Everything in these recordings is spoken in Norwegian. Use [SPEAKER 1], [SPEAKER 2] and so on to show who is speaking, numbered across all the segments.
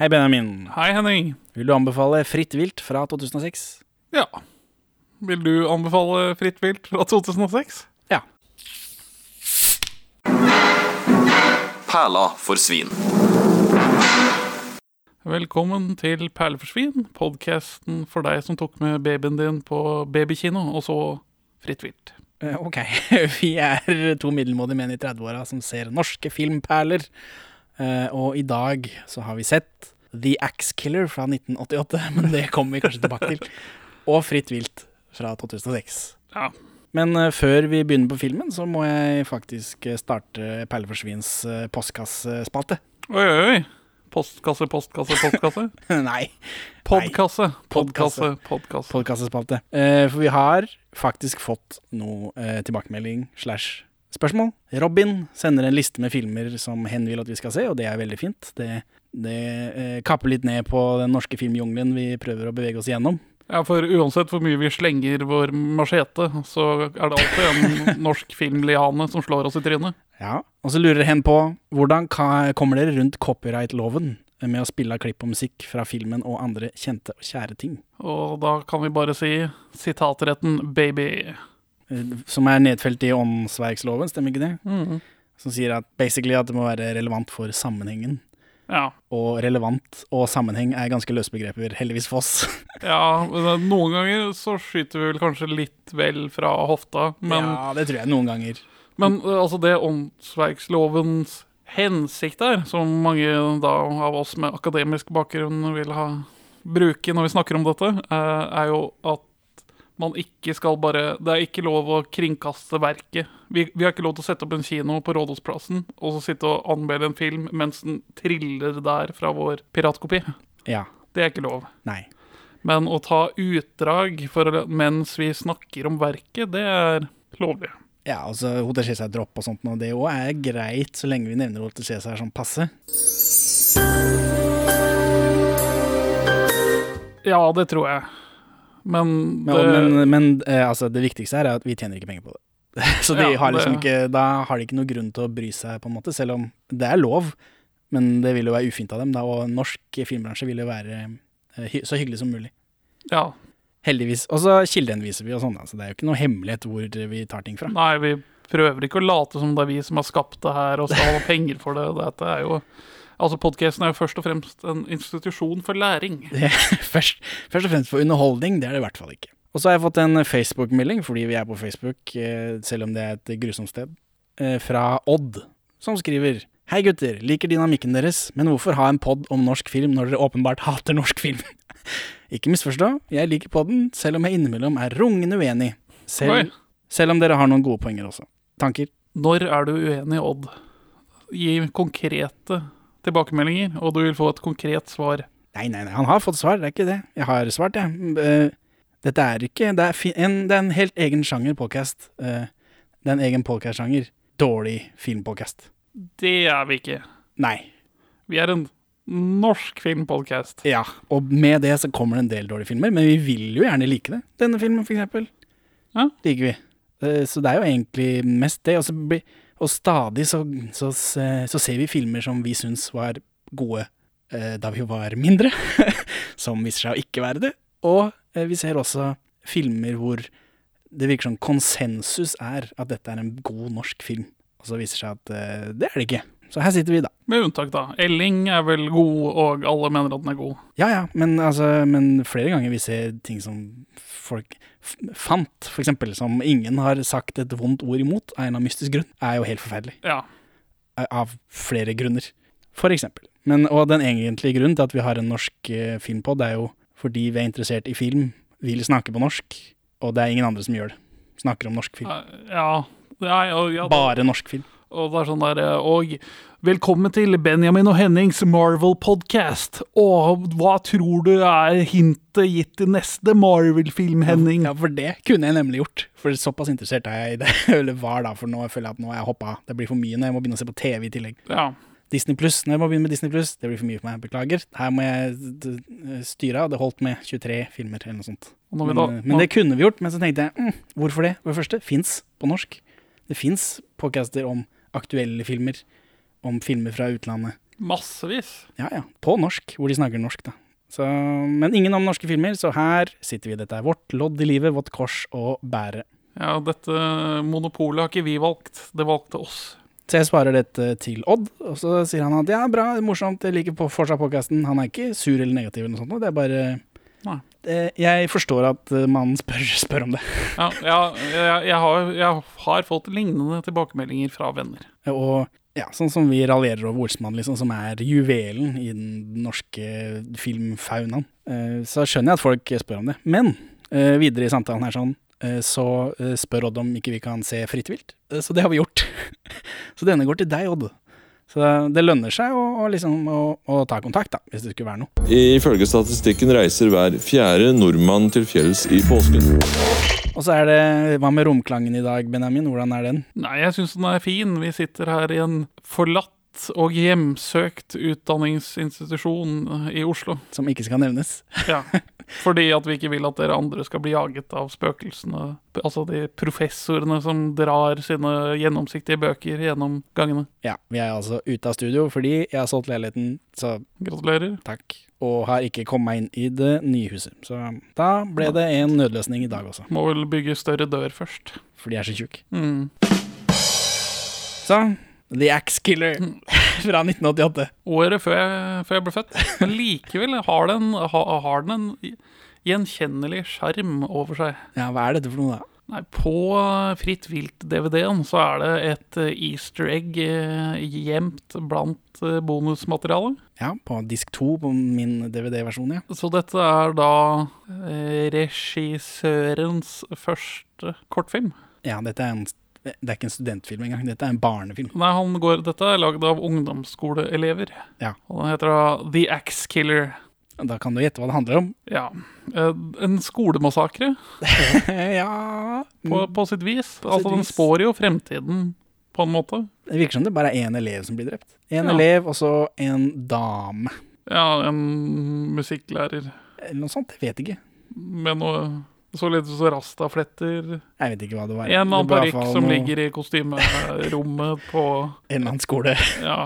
[SPEAKER 1] Hei, Benjamin.
[SPEAKER 2] Hei, Henning.
[SPEAKER 1] Vil du anbefale Fritt vilt fra 2006?
[SPEAKER 2] Ja. Vil du anbefale Fritt vilt fra 2006?
[SPEAKER 1] Ja.
[SPEAKER 3] Perla for svin.
[SPEAKER 2] Velkommen til Perleforsvin, podkasten for deg som tok med babyen din på babykino, og så Fritt vilt.
[SPEAKER 1] Eh, Ok, vi er to middelmådige menn i 30-åra som ser norske filmperler. Eh, Og i dag så har vi sett The Axe Killer fra 1988, men det kommer vi kanskje tilbake til. Og Fritt vilt fra 2006.
[SPEAKER 2] Ja.
[SPEAKER 1] Men eh, før vi begynner på filmen, så må jeg faktisk eh, starte Perleforsvins eh, postkassespalte.
[SPEAKER 2] Oi, oi, oi. Postkasse, postkasse, postkasse.
[SPEAKER 1] Nei,
[SPEAKER 2] Podkasse, podkasse,
[SPEAKER 1] Podkasse.
[SPEAKER 2] podkasse.
[SPEAKER 1] podkastespalte. Eh, For vi har faktisk fått noe eh, tilbakemelding slash spørsmål. Robin sender en liste med filmer som hen vil at vi skal se, og det er veldig fint. Det, det eh, kapper litt ned på den norske filmjungelen vi prøver å bevege oss igjennom.
[SPEAKER 2] Ja, for uansett hvor mye vi slenger vår machete, så er det alltid en norsk filmliane som slår oss i trynet.
[SPEAKER 1] Ja. Og så lurer hen på hvordan ka- kommer dere rundt copyright-loven med å spille av klipp og musikk fra filmen og andre kjente og kjære ting,
[SPEAKER 2] Og da kan vi bare si sitatretten 'baby'.
[SPEAKER 1] Eh, som er nedfelt i åndsverksloven, stemmer ikke det?
[SPEAKER 2] Mhm.
[SPEAKER 1] Som sier at basically at det må være relevant for sammenhengen.
[SPEAKER 2] Ja.
[SPEAKER 1] og relevant og sammenheng er ganske løse begreper, heldigvis for oss.
[SPEAKER 2] ja. men eh, Noen ganger så skyter vi vel kanskje litt vel fra hofta, men,
[SPEAKER 1] ja, det tror jeg noen ganger.
[SPEAKER 2] men eh, altså det åndsverkslovens hensikt er, som mange da av oss med akademisk bakgrunn vil ha bruke når vi snakker om dette, eh, er jo at man ikke skal bare Det er ikke lov å kringkaste verket. Vi, vi har ikke lov til å sette opp en kino på Rådhusplassen og så sitte og anmelde en film mens den triller der fra vår piratkopi.
[SPEAKER 1] Ja.
[SPEAKER 2] Det er ikke lov.
[SPEAKER 1] Nei.
[SPEAKER 2] Men å ta utdrag for, å- mens vi snakker om verket, det er lovlig.
[SPEAKER 1] Ja, altså Hotel Cæsar dropp og sånt, og det òg er greit så lenge vi nevner Hotel Cæsar som passe.
[SPEAKER 2] Ja, det tror jeg. Men,
[SPEAKER 1] Men,
[SPEAKER 2] det,
[SPEAKER 1] men, men eh, altså, det viktigste her er at vi tjener ikke penger på det. Så de
[SPEAKER 2] Ja,
[SPEAKER 1] har liksom
[SPEAKER 2] det-
[SPEAKER 1] ikke, da har de ikke noe grunn til å bry seg, på en måte, selv om det er lov. Men det vil jo være ufint av dem, da, og norsk filmbransje vil jo være eh, hy så hyggelig som mulig.
[SPEAKER 2] ja,
[SPEAKER 1] Heldigvis. Og så kildehenviser vi og sånn, da, så det er jo ikke noe hemmelighet hvor vi tar ting fra.
[SPEAKER 2] Nei, vi prøver ikke å late som det er vi som har skapt det her og skal ha penger for det. Dette er jo Altså, podkasten er jo først og fremst en institusjon for læring.
[SPEAKER 1] først, først og fremst for underholdning, det er det i hvert fall ikke. Og så har jeg fått en Facebook-melding, fordi vi er på Facebook, eh, selv om det er et grusomt sted, eh, fra Odd, som skriver Hei gutter, liker dynamikken deres, men hvorfor ha en pod om norsk film når dere åpenbart hater norsk film? ikke misforstå, jeg liker podden, selv om jeg innimellom er rungende uenig.
[SPEAKER 2] Oi.
[SPEAKER 1] Selv, selv om dere har noen gode poenger også. Tanker?
[SPEAKER 2] Når er du uenig, Odd? Gi konkrete tilbakemeldinger, og du vil få et konkret svar.
[SPEAKER 1] Nei, nei, nei, han har fått svar, det er ikke det. Jeg har svart, jeg. Mm, eh, Dette er ikke Det er, fi- en, det er en helt egen sjanger podcast. Eh, Det er en egen podcast-sjanger. Dårlig filmpodcast.
[SPEAKER 2] Det er vi ikke.
[SPEAKER 1] Nei.
[SPEAKER 2] Vi er en norsk filmpodkast.
[SPEAKER 1] Ja. Og med det så kommer det en del dårlige filmer, men vi vil jo gjerne like det. Denne filmen, for eksempel.
[SPEAKER 2] Ja.
[SPEAKER 1] Liker vi. Eh, Så det er jo egentlig mest det. Og, så blir- og stadig så, så, se- så ser vi filmer som vi syns var gode eh, da vi var mindre, som viser seg å ikke være det. Og eh, vi ser også filmer hvor det virker som konsensus er at dette er en god norsk film. Og så viser det seg at eh, det er det ikke. Så her sitter vi, da.
[SPEAKER 2] Med unntak, da. Elling er vel god, og alle mener at den er god.
[SPEAKER 1] Ja, ja, men, altså, men flere ganger vi ser ting som folk f fant, for eksempel, som ingen har sagt et vondt ord imot, av en av mystisk grunn, er jo helt forferdelig.
[SPEAKER 2] Ja.
[SPEAKER 1] eh, Av flere grunner, for eksempel. Men, og den egentlige grunnen til at vi har en norsk eh, filmpod, er jo fordi vi er interessert i film, vil snakke på norsk, og det er ingen andre som gjør det. Snakker om norsk film.
[SPEAKER 2] Ja. Nei, og, ja da-
[SPEAKER 1] Bare norsk film.
[SPEAKER 2] Og det er sånn der eh, Og velkommen til Benjamin og Hennings Marvel-podkast. Og hva tror du er hintet gitt i neste Marvel-film, Henning?
[SPEAKER 1] Ja, for det kunne jeg nemlig gjort. For såpass interessert er jeg i det, eller var da, for nå føler jeg at nå har jeg hoppa. Det blir for mye når jeg må begynne å se på TV i tillegg.
[SPEAKER 2] Ja.
[SPEAKER 1] Disney Pluss, når jeg må begynne med Disney Pluss, det blir for mye for meg, beklager. Her må jeg d- d- styre av, det holdt med 23 filmer eller noe sånt.
[SPEAKER 2] Og når vi
[SPEAKER 1] Men,
[SPEAKER 2] da,
[SPEAKER 1] eh, men det kunne vi gjort, men så tenkte jeg, mm, hvorfor det? For det første, fins på norsk. Det fins podcaster om aktuelle filmer, om filmer fra utlandet,
[SPEAKER 2] Massevis.
[SPEAKER 1] Ja, ja. På norsk, hvor de snakker norsk, da. Så, men ingen om norske filmer, så her sitter vi. Dette er vårt lodd i livet, vårt kors å bære.
[SPEAKER 2] Ja, dette monopolet har ikke vi valgt, det valgte oss.
[SPEAKER 1] Så jeg svarer dette til Odd, og så sier han at ja, bra, morsomt, jeg liker på fortsatt podkasten. Han er ikke sur eller negativ eller noe sånt, noe, det er bare
[SPEAKER 2] Nei.
[SPEAKER 1] Eh, Jeg forstår at eh, mannen spør, spør om det.
[SPEAKER 2] Ja, ja, jeg, jeg, har, jeg har fått lignende tilbakemeldinger fra venner.
[SPEAKER 1] Og ja, sånn som vi raljerer over Olsmann, liksom, som er juvelen i den norske filmfaunaen, eh, så skjønner jeg at folk spør om det. Men eh, videre i samtalen her sånn, eh, så eh, spør Odd om ikke vi kan se Fritt vilt. Eh, Så det har vi gjort. så denne går til deg, Odd. Så det lønner seg å, å, liksom, å, å ta kontakt, da, hvis det skulle være noe.
[SPEAKER 4] Ifølge statistikken reiser hver fjerde nordmann til fjells i påsken.
[SPEAKER 1] Og så er det Hva med romklangen i dag, Benjamin? Hvordan er den?
[SPEAKER 2] Nei, jeg syns den er fin. Vi sitter her i en forlatt og hjemsøkt utdanningsinstitusjon eh, i Oslo.
[SPEAKER 1] Som ikke skal nevnes.
[SPEAKER 2] Ja. Fordi at vi ikke vil at dere andre skal bli jaget av spøkelsene. Altså de professorene som drar sine gjennomsiktige bøker gjennom gangene.
[SPEAKER 1] Ja, vi er altså ute av studio fordi jeg har solgt leiligheten, så
[SPEAKER 2] Gratulerer.
[SPEAKER 1] Takk. Og har ikke kommet meg inn i det nye huset. Så da ble det en nødløsning i dag også,
[SPEAKER 2] Må vel bygge større dør først.
[SPEAKER 1] fordi jeg er så tjukk.
[SPEAKER 2] Mm.
[SPEAKER 1] Så The Axe Killer fra 1988.
[SPEAKER 2] Året før jeg, før jeg ble født. Men likevel har den, ha, har den en gjenkjennelig sjarm over seg.
[SPEAKER 1] Ja, hva er dette for noe, da?
[SPEAKER 2] Nei, på eh, Fritt vilt-DVD-en så er det et eh, easter egg eh, gjemt blant eh, bonusmaterialet.
[SPEAKER 1] Ja, på disk 2 på min DVD-versjon, ja.
[SPEAKER 2] Så dette er da eh, regissørens første kortfilm.
[SPEAKER 1] Ja, dette er en det er ikke en studentfilm engang, dette er en barnefilm.
[SPEAKER 2] Nei, han går, dette er lagd av ungdomsskoleelever.
[SPEAKER 1] Ja.
[SPEAKER 2] Og den heter da The Axe Killer.
[SPEAKER 1] Da kan du gjette hva det handler om.
[SPEAKER 2] Ja. eh, En skolemassakre,
[SPEAKER 1] ja mm,
[SPEAKER 2] på, på sitt vis. altså,
[SPEAKER 1] sitt
[SPEAKER 2] den
[SPEAKER 1] vis.
[SPEAKER 2] spår jo fremtiden, på en måte.
[SPEAKER 1] Det virker som det bare er én elev som blir drept. En
[SPEAKER 2] Ja.
[SPEAKER 1] elev, og så en dame.
[SPEAKER 2] Ja, en musikklærer
[SPEAKER 1] Eller noe sånt, jeg vet ikke.
[SPEAKER 2] med noe så litt så rastafletter.
[SPEAKER 1] Jeg vet ikke hva det var.
[SPEAKER 2] En eller annen
[SPEAKER 1] Det ble i hvert
[SPEAKER 2] parykk
[SPEAKER 1] fall
[SPEAKER 2] som
[SPEAKER 1] noe-
[SPEAKER 2] ligger i kostymerommet på
[SPEAKER 1] En eller annen skole.
[SPEAKER 2] Ja,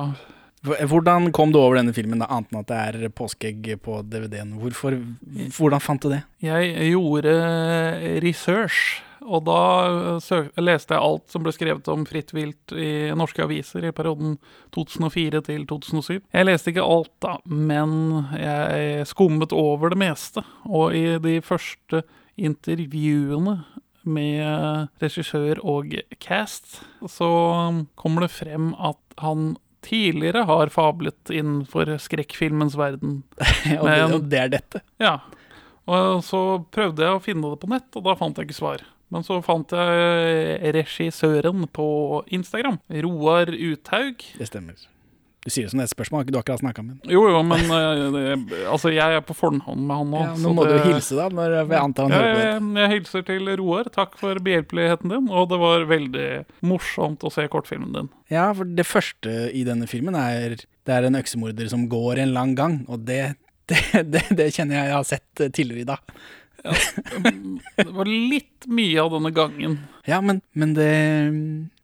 [SPEAKER 1] H- Hvordan kom du over denne filmen, da, annet enn at det er påskeegg på DVD-en? Hvorfor, hvordan fant du det?
[SPEAKER 2] Jeg gjorde eh, research, og da eh, søk, leste jeg alt som ble skrevet om fritt vilt i norske aviser i perioden 2004 til 2007. Jeg leste ikke alt, da, men jeg skummet over det meste. Og i de første intervjuene med eh, regissør og cast, så kommer det frem at han tidligere har fablet innenfor skrekkfilmens verden.
[SPEAKER 1] Og det,
[SPEAKER 2] Men-
[SPEAKER 1] og det er dette.
[SPEAKER 2] Ja. Og så prøvde jeg å finne det på nett, og da fant jeg ikke svar. Men så fant jeg regissøren på Instagram. Roar Uthaug.
[SPEAKER 1] Det stemmer. Du sier det som det er et spørsmål, har ikke du akkurat snakka med ham?
[SPEAKER 2] Jo, jo, men eh, det- altså, jeg er på forhånd med han nå.
[SPEAKER 1] Ja,
[SPEAKER 2] så
[SPEAKER 1] nå må du
[SPEAKER 2] det-
[SPEAKER 1] jo hilse, da, når jeg antar han
[SPEAKER 2] Ja,
[SPEAKER 1] hører på
[SPEAKER 2] jeg,
[SPEAKER 1] dette.
[SPEAKER 2] jeg hilser til Roar. Takk for behjelpeligheten din. Og det var veldig morsomt å se kortfilmen din.
[SPEAKER 1] Ja, for det første i denne filmen er det er en øksemorder som går en lang gang, og det, det, det, det kjenner jeg jeg har sett eh, tidligere i dag.
[SPEAKER 2] Det var litt mye av denne gangen.
[SPEAKER 1] Ja, men, men det,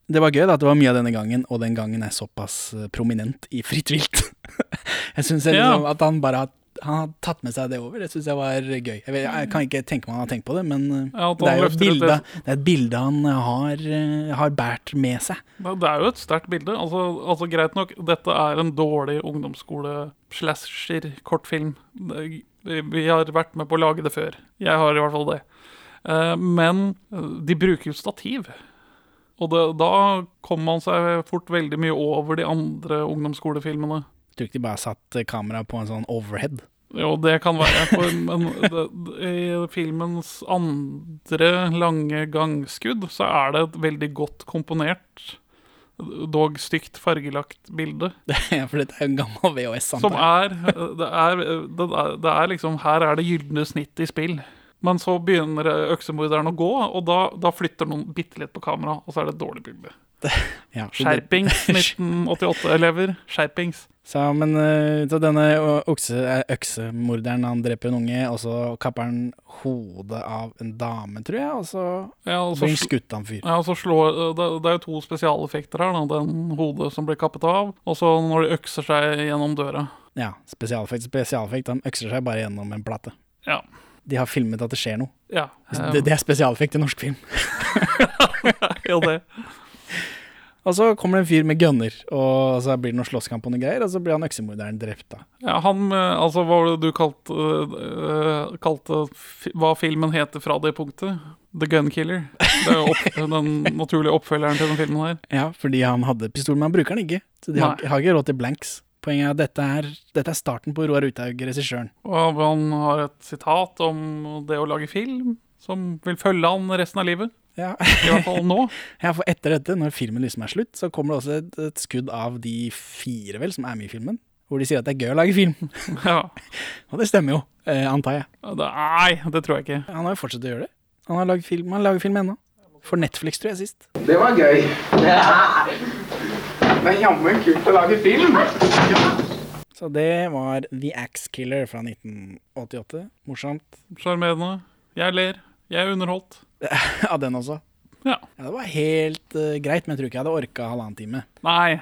[SPEAKER 1] det var gøy da, at det var mye av denne gangen, og den gangen er såpass eh, prominent i fritt vilt. jeg syns
[SPEAKER 2] Ja.
[SPEAKER 1] liksom at han bare har, han har tatt med seg det over, det syns jeg var gøy. Jeg, vet, jeg kan ikke tenke meg han har tenkt på det, men eh,
[SPEAKER 2] Ja, at
[SPEAKER 1] det,
[SPEAKER 2] han
[SPEAKER 1] er jo et
[SPEAKER 2] løfter ut
[SPEAKER 1] bilde,
[SPEAKER 2] det-
[SPEAKER 1] det er et bilde han har, eh, har båret med seg.
[SPEAKER 2] Det det er jo et sterkt bilde. Altså, altså Greit nok, dette er en dårlig ungdomsskole-slasher-kortfilm. Det- Vi har vært med på å lage det før. Jeg har i hvert fall det. Eh, Men eh, de bruker jo stativ. Og det, da kom man seg fort veldig mye over de andre ungdomsskolefilmene.
[SPEAKER 1] Jeg tror ikke de bare satt eh, kamera på en sånn overhead.
[SPEAKER 2] Jo, det kan være, for, men det, i filmens andre lange gangskudd så er det et veldig godt komponert, dog stygt fargelagt bilde.
[SPEAKER 1] Ja, For dette er jo en gammel VHS.
[SPEAKER 2] Som
[SPEAKER 1] antar jeg.
[SPEAKER 2] er det er, det er det er liksom Her er det gylne snitt i spill. Men så begynner øksemorderen å gå, og da, da flytter noen bitte litt på kamera, og så er det et dårlig bilde.
[SPEAKER 1] Ja, så det-
[SPEAKER 2] Skjerpings 1988-elever. Skjerpings.
[SPEAKER 1] Så, men, eh, så denne o- okse, eh, øksemorderen, han dreper en unge, og så kapper han hodet av en dame, tror jeg, og så
[SPEAKER 2] Ja, og så
[SPEAKER 1] blir han
[SPEAKER 2] sl-
[SPEAKER 1] skutt av en fyr.
[SPEAKER 2] Ja, og så slår, det, det er jo to spesialeffekter her. Da. Den hodet som blir kappet av, og så når de økser seg gjennom døra.
[SPEAKER 1] Ja, spesialeffekt, spesialeffekt. Han økser seg bare gjennom en plate.
[SPEAKER 2] Ja.
[SPEAKER 1] De har filmet at det skjer noe.
[SPEAKER 2] Ja, eh,
[SPEAKER 1] Så Det, det er spesialeffekt i norsk film.
[SPEAKER 2] ja det.
[SPEAKER 1] Og så kommer det en fyr med gunner, og så blir det noe slåsskamp og noe greier, og så blir han øksemorderen drept, da.
[SPEAKER 2] Ja, han eh, Altså, hva var det du kalte, eh, kalte fi- hva filmen heter fra det punktet? The Gun Killer. Det er jo opp, den naturlige oppfølgeren til den filmen her.
[SPEAKER 1] Ja, fordi han hadde pistol, men han bruker den ikke. Så de har,
[SPEAKER 2] Nei.
[SPEAKER 1] har ikke råd til blanks. Poenget er at dette er, dette er starten på Roar Uthaug, regissøren.
[SPEAKER 2] Og han har et sitat om det å lage film som vil følge han resten av livet.
[SPEAKER 1] Ja.
[SPEAKER 2] I hvert fall nå.
[SPEAKER 1] Ja, for etter dette, når filmen liksom er slutt, så kommer det også et, et skudd av de fire vel som er med i filmen, hvor de sier at det er gøy å lage film.
[SPEAKER 2] Ja.
[SPEAKER 1] Og det stemmer jo, eh, antar jeg.
[SPEAKER 2] Det, nei, det tror jeg ikke.
[SPEAKER 1] Han har jo fortsatt å gjøre det. Han har laget film, han lager film ennå. For Netflix, tror jeg, sist.
[SPEAKER 5] Det var gøy. Det er jammen kult å lage film.
[SPEAKER 1] Så det var The Axe Killer fra 1988. Morsomt.
[SPEAKER 2] Sjarmerende. Jeg ler. Jeg er underholdt.
[SPEAKER 1] Av den også.
[SPEAKER 2] Ja.
[SPEAKER 1] Ja, det var helt eh, greit, men jeg tror ikke jeg hadde orka halvannen time.
[SPEAKER 2] Nei,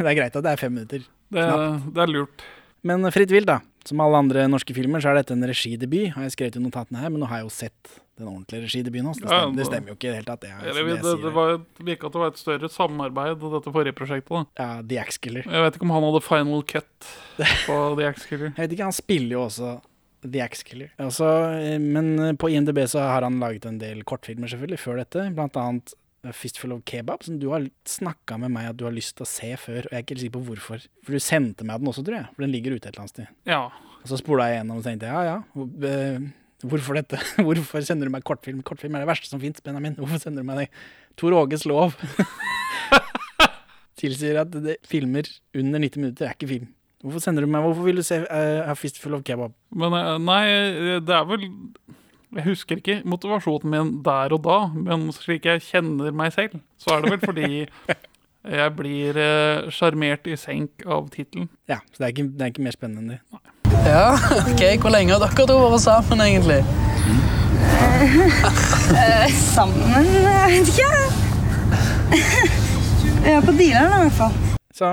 [SPEAKER 1] det er greit at det er fem minutter.
[SPEAKER 2] det, det er lurt.
[SPEAKER 1] Men Fritt vilt, da. Som alle andre norske filmer, så er dette en regidebut, har jeg skrevet i notatene her, men nå har jeg jo sett den ordentlige regidebuten hans. Det,
[SPEAKER 2] Ja,
[SPEAKER 1] stemmer- det
[SPEAKER 2] da-
[SPEAKER 1] stemmer jo ikke i det hele tatt. Det, er, som
[SPEAKER 2] Eller, det
[SPEAKER 1] jeg
[SPEAKER 2] det,
[SPEAKER 1] sier
[SPEAKER 2] det
[SPEAKER 1] her.
[SPEAKER 2] var et- virka at det var et større samarbeid, dette forrige prosjektet. da.
[SPEAKER 1] ja, The Axe Killer.
[SPEAKER 2] Jeg vet ikke om han hadde final cut på The Axe Killer.
[SPEAKER 1] Jeg vet ikke, han spiller jo også The Axe Killer. Altså, eh, men eh, på INDb så har han laget en del kortfilmer selvfølgelig før dette, blant annet A Fistful of Kebab, som du har snakka med meg at du har lyst til å se før, og jeg er ikke helt sikker på hvorfor. For du sendte meg den også, tror jeg, for den ligger ute et eller annet sted.
[SPEAKER 2] Ja.
[SPEAKER 1] Og så spola jeg gjennom og tenkte ja, ja, hvor- eh, hvorfor dette? Hvorfor sender du meg kortfilm? Kortfilm er det verste som fins, Benjamin. Hvorfor sender du meg det? Tor Åges lov tilsier at det, filmer under 90 minutter er ikke film. Hvorfor sender du meg Hvorfor vil du se eh, A Fistful of Kebab?
[SPEAKER 2] Men eh, nei, det er vel Jeg husker ikke motivasjonen min der og da, men slik jeg kjenner meg selv, så er det vel fordi jeg blir eh, sjarmert i senk av tittelen.
[SPEAKER 1] Ja, så det er ikke, det er ikke mer spennende enn det.
[SPEAKER 6] Ja, ok. Hvor lenge har dere to vært sammen, egentlig?
[SPEAKER 7] Eh, sammen Jeg vet ikke. Jeg er på dealeren, i hvert fall.
[SPEAKER 1] Så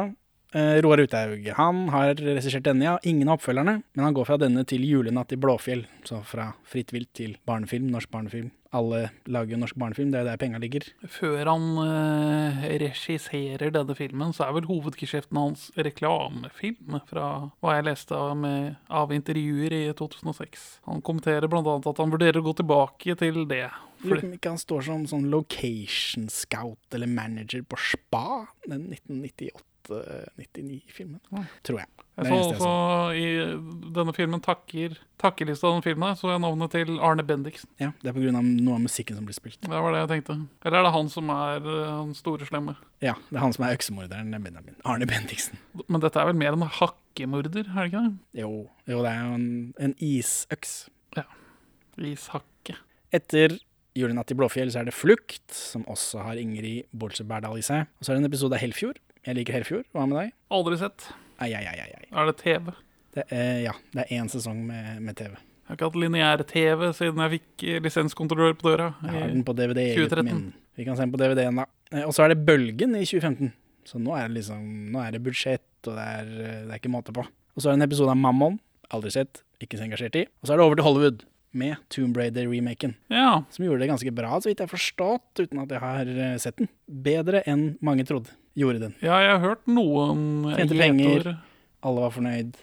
[SPEAKER 1] eh, Roar Uthaug han har regissert denne, ja. Ingen av oppfølgerne. Men han går fra denne til 'Julenatt i Blåfjell'. Så fra fritt vilt til barnefilm, norsk barnefilm. Alle lager jo norsk barnefilm, det er jo der penga ligger.
[SPEAKER 2] Før han eh, regisserer denne filmen, så er vel hovedgeskjeften hans reklamefilm, fra hva jeg leste av, med, av intervjuer i 2006. Han kommenterer bl.a. at han vurderer å gå tilbake til det.
[SPEAKER 1] Lurer
[SPEAKER 2] Fordi,
[SPEAKER 1] på om ikke han står som sånn location scout eller manager på spa, den 1998-99-filmen, tror jeg. Det
[SPEAKER 2] Jeg
[SPEAKER 1] er det
[SPEAKER 2] så
[SPEAKER 1] eneste jeg
[SPEAKER 2] også i denne filmen takker, takkelista av denne filmen her, så jeg navnet til Arne Bendiksen.
[SPEAKER 1] Ja, det er på grunn av noe av musikken som blir spilt.
[SPEAKER 2] Det var det jeg tenkte. Eller er det han som er eh, han store slemme?
[SPEAKER 1] Ja, det er han som er øksemorderen, Benjamin. Arne Bendiksen.
[SPEAKER 2] Men dette er vel mer en hakkemorder, er det ikke det?
[SPEAKER 1] Jo, jo det er jo en, en isøks.
[SPEAKER 2] Ishakke.
[SPEAKER 1] Etter 'Julenatt i Blåfjell' så er det 'Flukt', som også har Ingrid Bolse Berdal i seg. Og så er det en episode av Helfjord. Jeg liker Helfjord. Hva med deg?
[SPEAKER 2] Aldri sett.
[SPEAKER 1] Ai, ai, ai, ai, ai.
[SPEAKER 2] Er det TV?
[SPEAKER 1] Det, eh, ja, det er én sesong med, med TV.
[SPEAKER 2] Jeg har ikke hatt lineær-TV siden jeg fikk eh, lisenskontrollør på døra.
[SPEAKER 1] Jeg har den på DVD. i
[SPEAKER 2] 2013.
[SPEAKER 1] gutten min. Vi kan se den på DVD-en, da. Eh, Og så er det Bølgen i 2015. Så nå er det liksom Nå er det budsjett, og det er, eh, det er ikke måte på. Og så er det en episode av Mammon. Aldri sett, ikke så engasjert i. Og så er det over til Hollywood med Tomb Raider-remaken,
[SPEAKER 2] Ja,
[SPEAKER 1] som gjorde det ganske bra, så vidt jeg har forstått, uten at jeg har eh, sett den. Bedre enn mange trodde. Gjorde den.
[SPEAKER 2] ja, jeg har hørt noen eh,
[SPEAKER 1] Tjente penger.
[SPEAKER 2] gjetord.
[SPEAKER 1] Alle var fornøyd.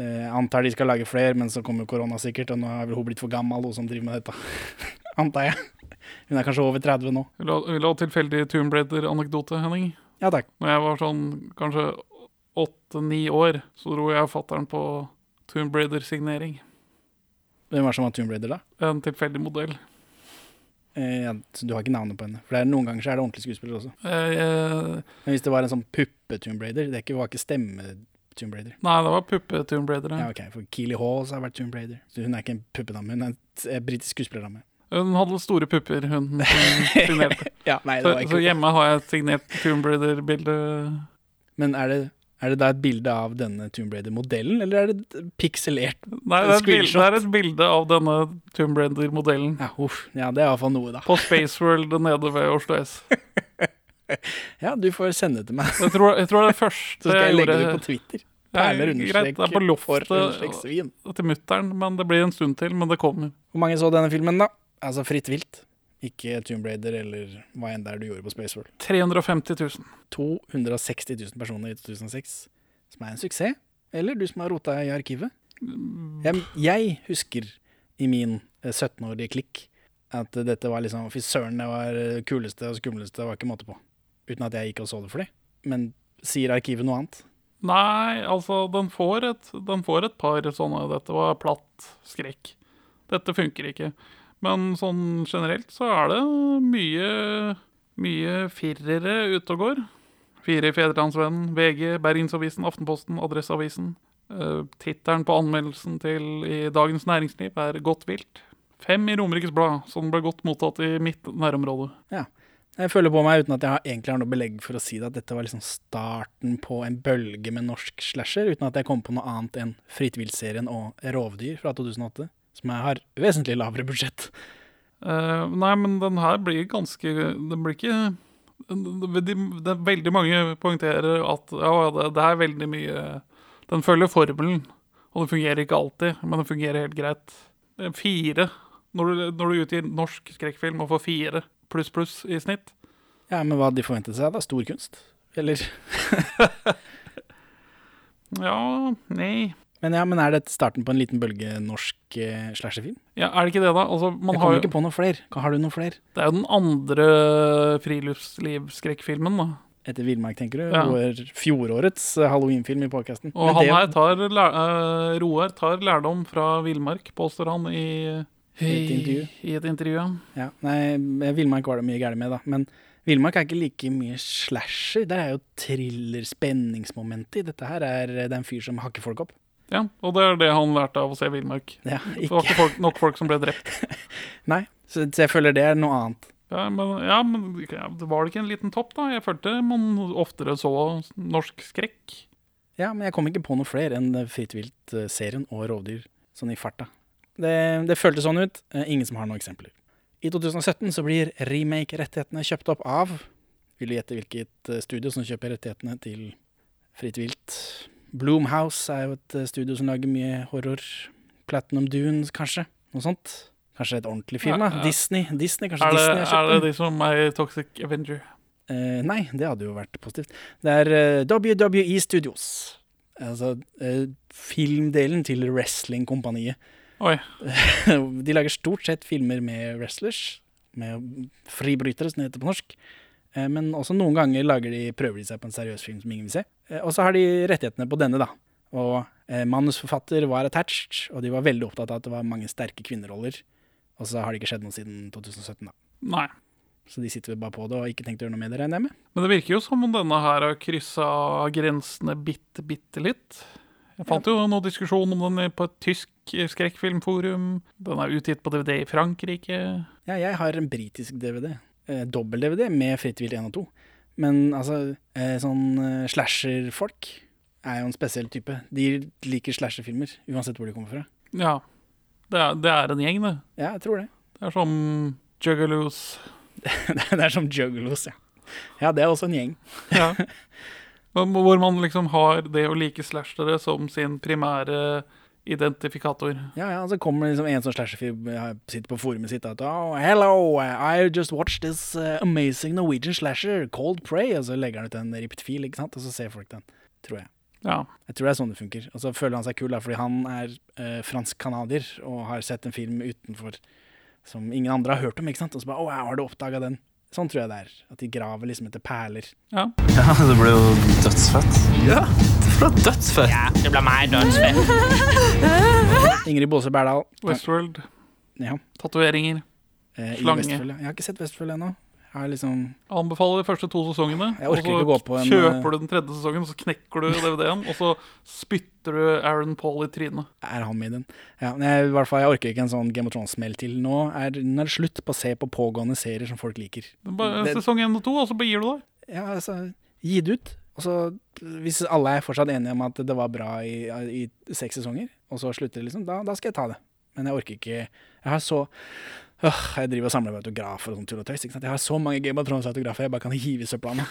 [SPEAKER 1] Eh, antar de skal lage flere, men så kommer jo korona sikkert, og nå er vel hun blitt for gammel, hun som driver med dette. antar jeg. Hun er kanskje over 30 nå.
[SPEAKER 2] Vil du ha- vil du ha tilfeldig Tomb Raider-anekdote, Henning?
[SPEAKER 1] Ja takk.
[SPEAKER 2] Når jeg var sånn kanskje åtte-ni år, så dro jeg og fatter'n på Tomb Raider-signering.
[SPEAKER 1] Hvem var det som var Tomb Raider, da?
[SPEAKER 2] En tilfeldig modell.
[SPEAKER 1] Eh, ja, så du har ikke navnet på henne. For det er, noen ganger så er det ordentlige skuespillere også.
[SPEAKER 2] Eh, eh,
[SPEAKER 1] Men hvis det var en sånn puppe-Tomb Raider Det er ikke, var ikke stemme-Tomb Raider.
[SPEAKER 2] nei, det var puppe-Tomb Raider.
[SPEAKER 1] Ja,
[SPEAKER 2] ja.
[SPEAKER 1] ok, For Keeley Hawes har vært Tomb Raider. Så hun er ikke en puppedame, hun er en t- eh, britisk skuespillerdamme.
[SPEAKER 2] Hun hadde store pupper, hun. som signerte.
[SPEAKER 1] Ja, nei, det
[SPEAKER 2] Så,
[SPEAKER 1] var
[SPEAKER 2] så
[SPEAKER 1] ikke
[SPEAKER 2] hjemme har jeg et signert Tomb Raider-bilde.
[SPEAKER 1] Men er det, er det da et bilde av denne Tomb Raider-modellen, eller er det et pikselert
[SPEAKER 2] Nei, det er, et bilde, det
[SPEAKER 1] Screenshot.
[SPEAKER 2] er et bilde av denne Tomb Raider-modellen
[SPEAKER 1] Ja, uff. Ja, det er iallfall noe, da.
[SPEAKER 2] på Spaceworld nede ved Oslo S.
[SPEAKER 1] Ja, du får sende det til meg,
[SPEAKER 2] Jeg tror, jeg tror det er det
[SPEAKER 1] så
[SPEAKER 2] første
[SPEAKER 1] skal
[SPEAKER 2] jeg
[SPEAKER 1] jeg legge
[SPEAKER 2] gjorde
[SPEAKER 1] det på Twitter.
[SPEAKER 2] Ja,
[SPEAKER 1] Perler
[SPEAKER 2] greit,
[SPEAKER 1] understrek
[SPEAKER 2] det er på
[SPEAKER 1] for
[SPEAKER 2] loftet
[SPEAKER 1] understrek svin.
[SPEAKER 2] til mutter'n, men det blir en stund til. Men det kommer.
[SPEAKER 1] Hvor mange så denne filmen, da? Altså fritt vilt. Ikke Tomb Raider eller hva enn det er du gjorde på Spaceworld.
[SPEAKER 2] 350 000.
[SPEAKER 1] 260 000 personer i 2006, som er en suksess. Eller du som har rota i arkivet. Jeg, jeg husker i min eh, 17-årige klikk at eh, dette var liksom Fy søren, det var eh, kuleste og skumleste, det var ikke måte på. Uten at jeg gikk og så det for dem. Men sier arkivet noe annet?
[SPEAKER 2] Nei, altså, den får, et, den får et par sånne 'dette var platt skrekk'. Dette funker ikke. Men sånn generelt så er det mye, mye firere ute og går. Fire i Fedrelandsvennen, VG, Bergensavisen, Aftenposten, Adresseavisen. Uh, Tittelen på anmeldelsen til i Dagens Næringsliv er 'Godt vilt'. Fem i Romerikes Blad, som ble godt mottatt i mitt nærområde.
[SPEAKER 1] Ja. Jeg føler på meg, uten at jeg har- egentlig har noe belegg for å si det, at dette var liksom starten på en bølge med norsk slasher, uten at jeg kom på noe annet enn Fritt vilt-serien og Rovdyr fra 2008, som jeg har vesentlig lavere budsjett.
[SPEAKER 2] Eh, nei, men den her blir ganske Den blir ikke de, det er Veldig mange poengterer at ja, det, det er veldig mye Den følger formelen, og den fungerer ikke alltid, men den fungerer helt greit. Eh, Fire. Når du, når du utgir norsk skrekkfilm og får fire pluss pluss i snitt
[SPEAKER 1] Ja, men hva hadde de forventet seg, da? Stor kunst? Eller
[SPEAKER 2] Ja, nei
[SPEAKER 1] Men ja, men er det starten på en liten bølge norsk eh, slasherfilm?
[SPEAKER 2] ja, Er det ikke det, da? Altså, man
[SPEAKER 1] Jeg
[SPEAKER 2] har,
[SPEAKER 1] kommer
[SPEAKER 2] jo-
[SPEAKER 1] ikke på noe fler. Har du noe fler?
[SPEAKER 2] det er jo den andre friluftslivskrekkfilmen, da.
[SPEAKER 1] Etter Villmark, tenker du?
[SPEAKER 2] Ja.
[SPEAKER 1] Vår fjorårets eh, halloweenfilm i podkasten.
[SPEAKER 2] Og han her tar, lær- eh, Roar tar lærdom fra villmark, påstår han i,
[SPEAKER 1] I et intervju.
[SPEAKER 2] I et intervju ja.
[SPEAKER 1] Ja, nei, Villmark var det mye gærent med, da. Men Villmark er ikke like mye slasher. Der er jo thriller, spenningsmomentet i. Dette her er det er en fyr som hakker folk opp.
[SPEAKER 2] ja, og det er det han lærte av å se villmark.
[SPEAKER 1] Ja,
[SPEAKER 2] Det var
[SPEAKER 1] ikke.
[SPEAKER 2] ikke folk, nok folk som ble drept.
[SPEAKER 1] Nei, så, så jeg føler det er noe annet.
[SPEAKER 2] Ja, men, ja, men ja, det var det ikke en liten topp, da? Jeg følte man oftere så norsk skrekk.
[SPEAKER 1] Ja, men jeg kom ikke på noe flere enn eh, Fritt vilt-serien og Rovdyr, sånn i farta. Det, det føltes sånn ut. Eh, Ingen som har noen eksempler. I 2017 så blir remake-rettighetene kjøpt opp av Vil du gjette hvilket eh, studio som kjøper rettighetene til Fritt vilt? Bloomhouse er jo et eh, studio som lager mye horror. Platinum Dunes, kanskje? Noe sånt? Kanskje et ordentlig firma?
[SPEAKER 2] Ja, ja.
[SPEAKER 1] Disney? Disney, Kanskje
[SPEAKER 2] Er det,
[SPEAKER 1] Disney har
[SPEAKER 2] er
[SPEAKER 1] kjøpt
[SPEAKER 2] det
[SPEAKER 1] den?
[SPEAKER 2] de som er i Toxic Avenger?
[SPEAKER 1] Eh, nei, det hadde jo vært positivt. Det er eh, WWE Studios. Altså eh, filmdelen til wrestlingkompaniet.
[SPEAKER 2] Oi.
[SPEAKER 1] De lager stort sett filmer med wrestlers, med fribrytere, som det heter på norsk. Eh, Men også noen ganger lager de, prøver de seg på en seriøs film som ingen vil se. Eh, Og så har de rettighetene på denne, da. Og eh, manusforfatter var attached, og de var veldig opptatt av at det var mange sterke kvinneroller. Og så har det ikke skjedd noe siden 2017, da.
[SPEAKER 2] Nei.
[SPEAKER 1] Så de sitter vel bare på det og har ikke tenkt å gjøre noe med det, regner jeg med.
[SPEAKER 2] Men det virker jo som om denne her har kryssa grensene bitte, bitte litt. Jeg fant jo noe diskusjon om den på et tysk skrekkfilmforum. Den er utgitt på DVD i Frankrike.
[SPEAKER 1] Ja, jeg har en britisk DVD. Eh, Dobbel-DVD med Fritt vilt 1 og 2. Men altså, eh, sånn eh, slasher-folk er jo en spesiell type. De liker slasher-filmer, uansett hvor de kommer fra.
[SPEAKER 2] Ja. Det er, det er en gjeng, det.
[SPEAKER 1] Ja, jeg tror det.
[SPEAKER 2] Det er som Juggaloos.
[SPEAKER 1] det er som Juggalos, ja. Ja, det er også en gjeng.
[SPEAKER 2] Ja. Men Hvor man liksom har det å like slashere som sin primære identifikator.
[SPEAKER 1] Ja, ja, Så kommer det liksom en sånn slasherfilm ja, sitter på forumet sitt og at oh, hello, I just watched this uh, amazing Norwegian slasher, Cold Prey, og så legger han ut en ripped fil, ikke sant, og så ser folk den, tror jeg.
[SPEAKER 2] Ja.
[SPEAKER 1] Jeg tror det er sånn det funker. Og så føler han seg kul da, fordi han er eh, fransk-canadier og har sett en film utenfor som ingen andre har hørt om. ikke sant? Og så bare 'Å, wow, har du oppdaga den?' Sånn tror jeg det er. At de graver liksom etter perler.
[SPEAKER 2] ja.
[SPEAKER 8] Ja, det ble jo dødsfett. Ja, det ble dødsfett.
[SPEAKER 1] Ingrid Bolse Berdal.
[SPEAKER 2] Westworld.
[SPEAKER 1] Ja.
[SPEAKER 2] Tatoveringer.
[SPEAKER 1] eh, i
[SPEAKER 2] Slange.
[SPEAKER 1] eh, Westfold, ja. Jeg har ikke sett Vestfold ennå. Er liksom,
[SPEAKER 2] Anbefaler de første to sesongene.
[SPEAKER 1] Jeg orker ikke
[SPEAKER 2] og så
[SPEAKER 1] gå på en,
[SPEAKER 2] kjøper du den tredje sesongen, så knekker du DVD-en, og så spytter du Aaron Paul i trynet.
[SPEAKER 1] er han med i den? Ja, men jeg, i hvert fall, jeg orker ikke en sånn Game of Thrones-smell til. Nå er, nå er det slutt på å se på pågående serier som folk liker.
[SPEAKER 2] Det er Bare
[SPEAKER 1] Det-
[SPEAKER 2] sesong én og to, og så bare gir du deg.
[SPEAKER 1] Ja, altså, gi det ut. Og så, hvis alle er fortsatt enige om at det var bra i, i seks sesonger, og så slutter det, liksom, da, da skal jeg ta det. Men jeg orker ikke Jeg har så Øh, jeg driver og samler på autografer og sånn tull og tøys. Ikke sant? Jeg har så mange Game of Thrones-autografer jeg bare kan hive i søpla nå.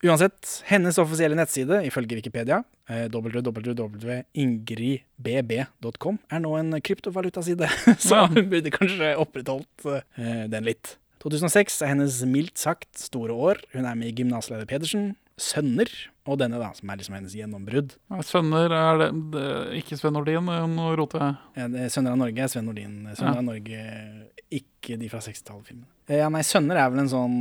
[SPEAKER 1] Uansett, hennes offisielle nettside, ifølge Wikipedia, eh, www.ingridbb.com, er nå en kryptovalutaside, så
[SPEAKER 2] Ja.
[SPEAKER 1] hun burde kanskje opprettholdt eh, den litt. 2006 er hennes mildt sagt store år. Hun er med i Gymnasleder Pedersen, Sønner, og denne, da, som er liksom hennes gjennombrudd.
[SPEAKER 2] Nei, Sønner er det, det er Ikke Sven Nordin, eh, nå roter jeg.
[SPEAKER 1] Ja, det er Sønner av Norge er Sven Nordin. Sønner
[SPEAKER 2] Ja.
[SPEAKER 1] av Norge, ikke de fra 60-tallet-filmene. Eh, Ja, nei, Sønner er vel en sånn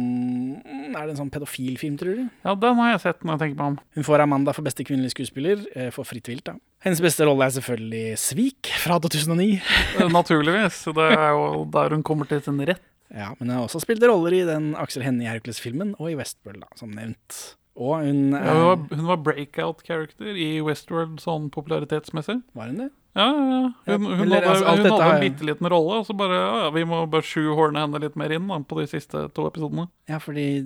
[SPEAKER 1] Er det en sånn pedofilfilm, tror du?
[SPEAKER 2] Ja, den har jeg sett når jeg tenker meg om.
[SPEAKER 1] Hun får Amanda for beste kvinnelige skuespiller, eh, for Fritt vilt, da. Hennes beste rolle er selvfølgelig Svik fra 2009.
[SPEAKER 2] Eh, Naturligvis. Det er jo der hun kommer til sin rett.
[SPEAKER 1] Ja, Men hun har også spilt roller i den Aksel Hennie-Hercules-filmen og i Westworld, da, som nevnt. Og hun eh,
[SPEAKER 2] Ja, hun
[SPEAKER 1] er,
[SPEAKER 2] var, hun var breakout-character i Westworld sånn popularitetsmessig.
[SPEAKER 1] Var hun det?
[SPEAKER 2] Ja, ja, ja. Hun,
[SPEAKER 1] Ja,
[SPEAKER 2] hun
[SPEAKER 1] eller,
[SPEAKER 2] hadde,
[SPEAKER 1] altså, alt
[SPEAKER 2] hun
[SPEAKER 1] dette
[SPEAKER 2] hadde
[SPEAKER 1] har-
[SPEAKER 2] en bitte liten rolle, og så bare ja, ja, Vi må bare sjuhorne henne litt mer inn da, på de siste to episodene.
[SPEAKER 1] Ja, fordi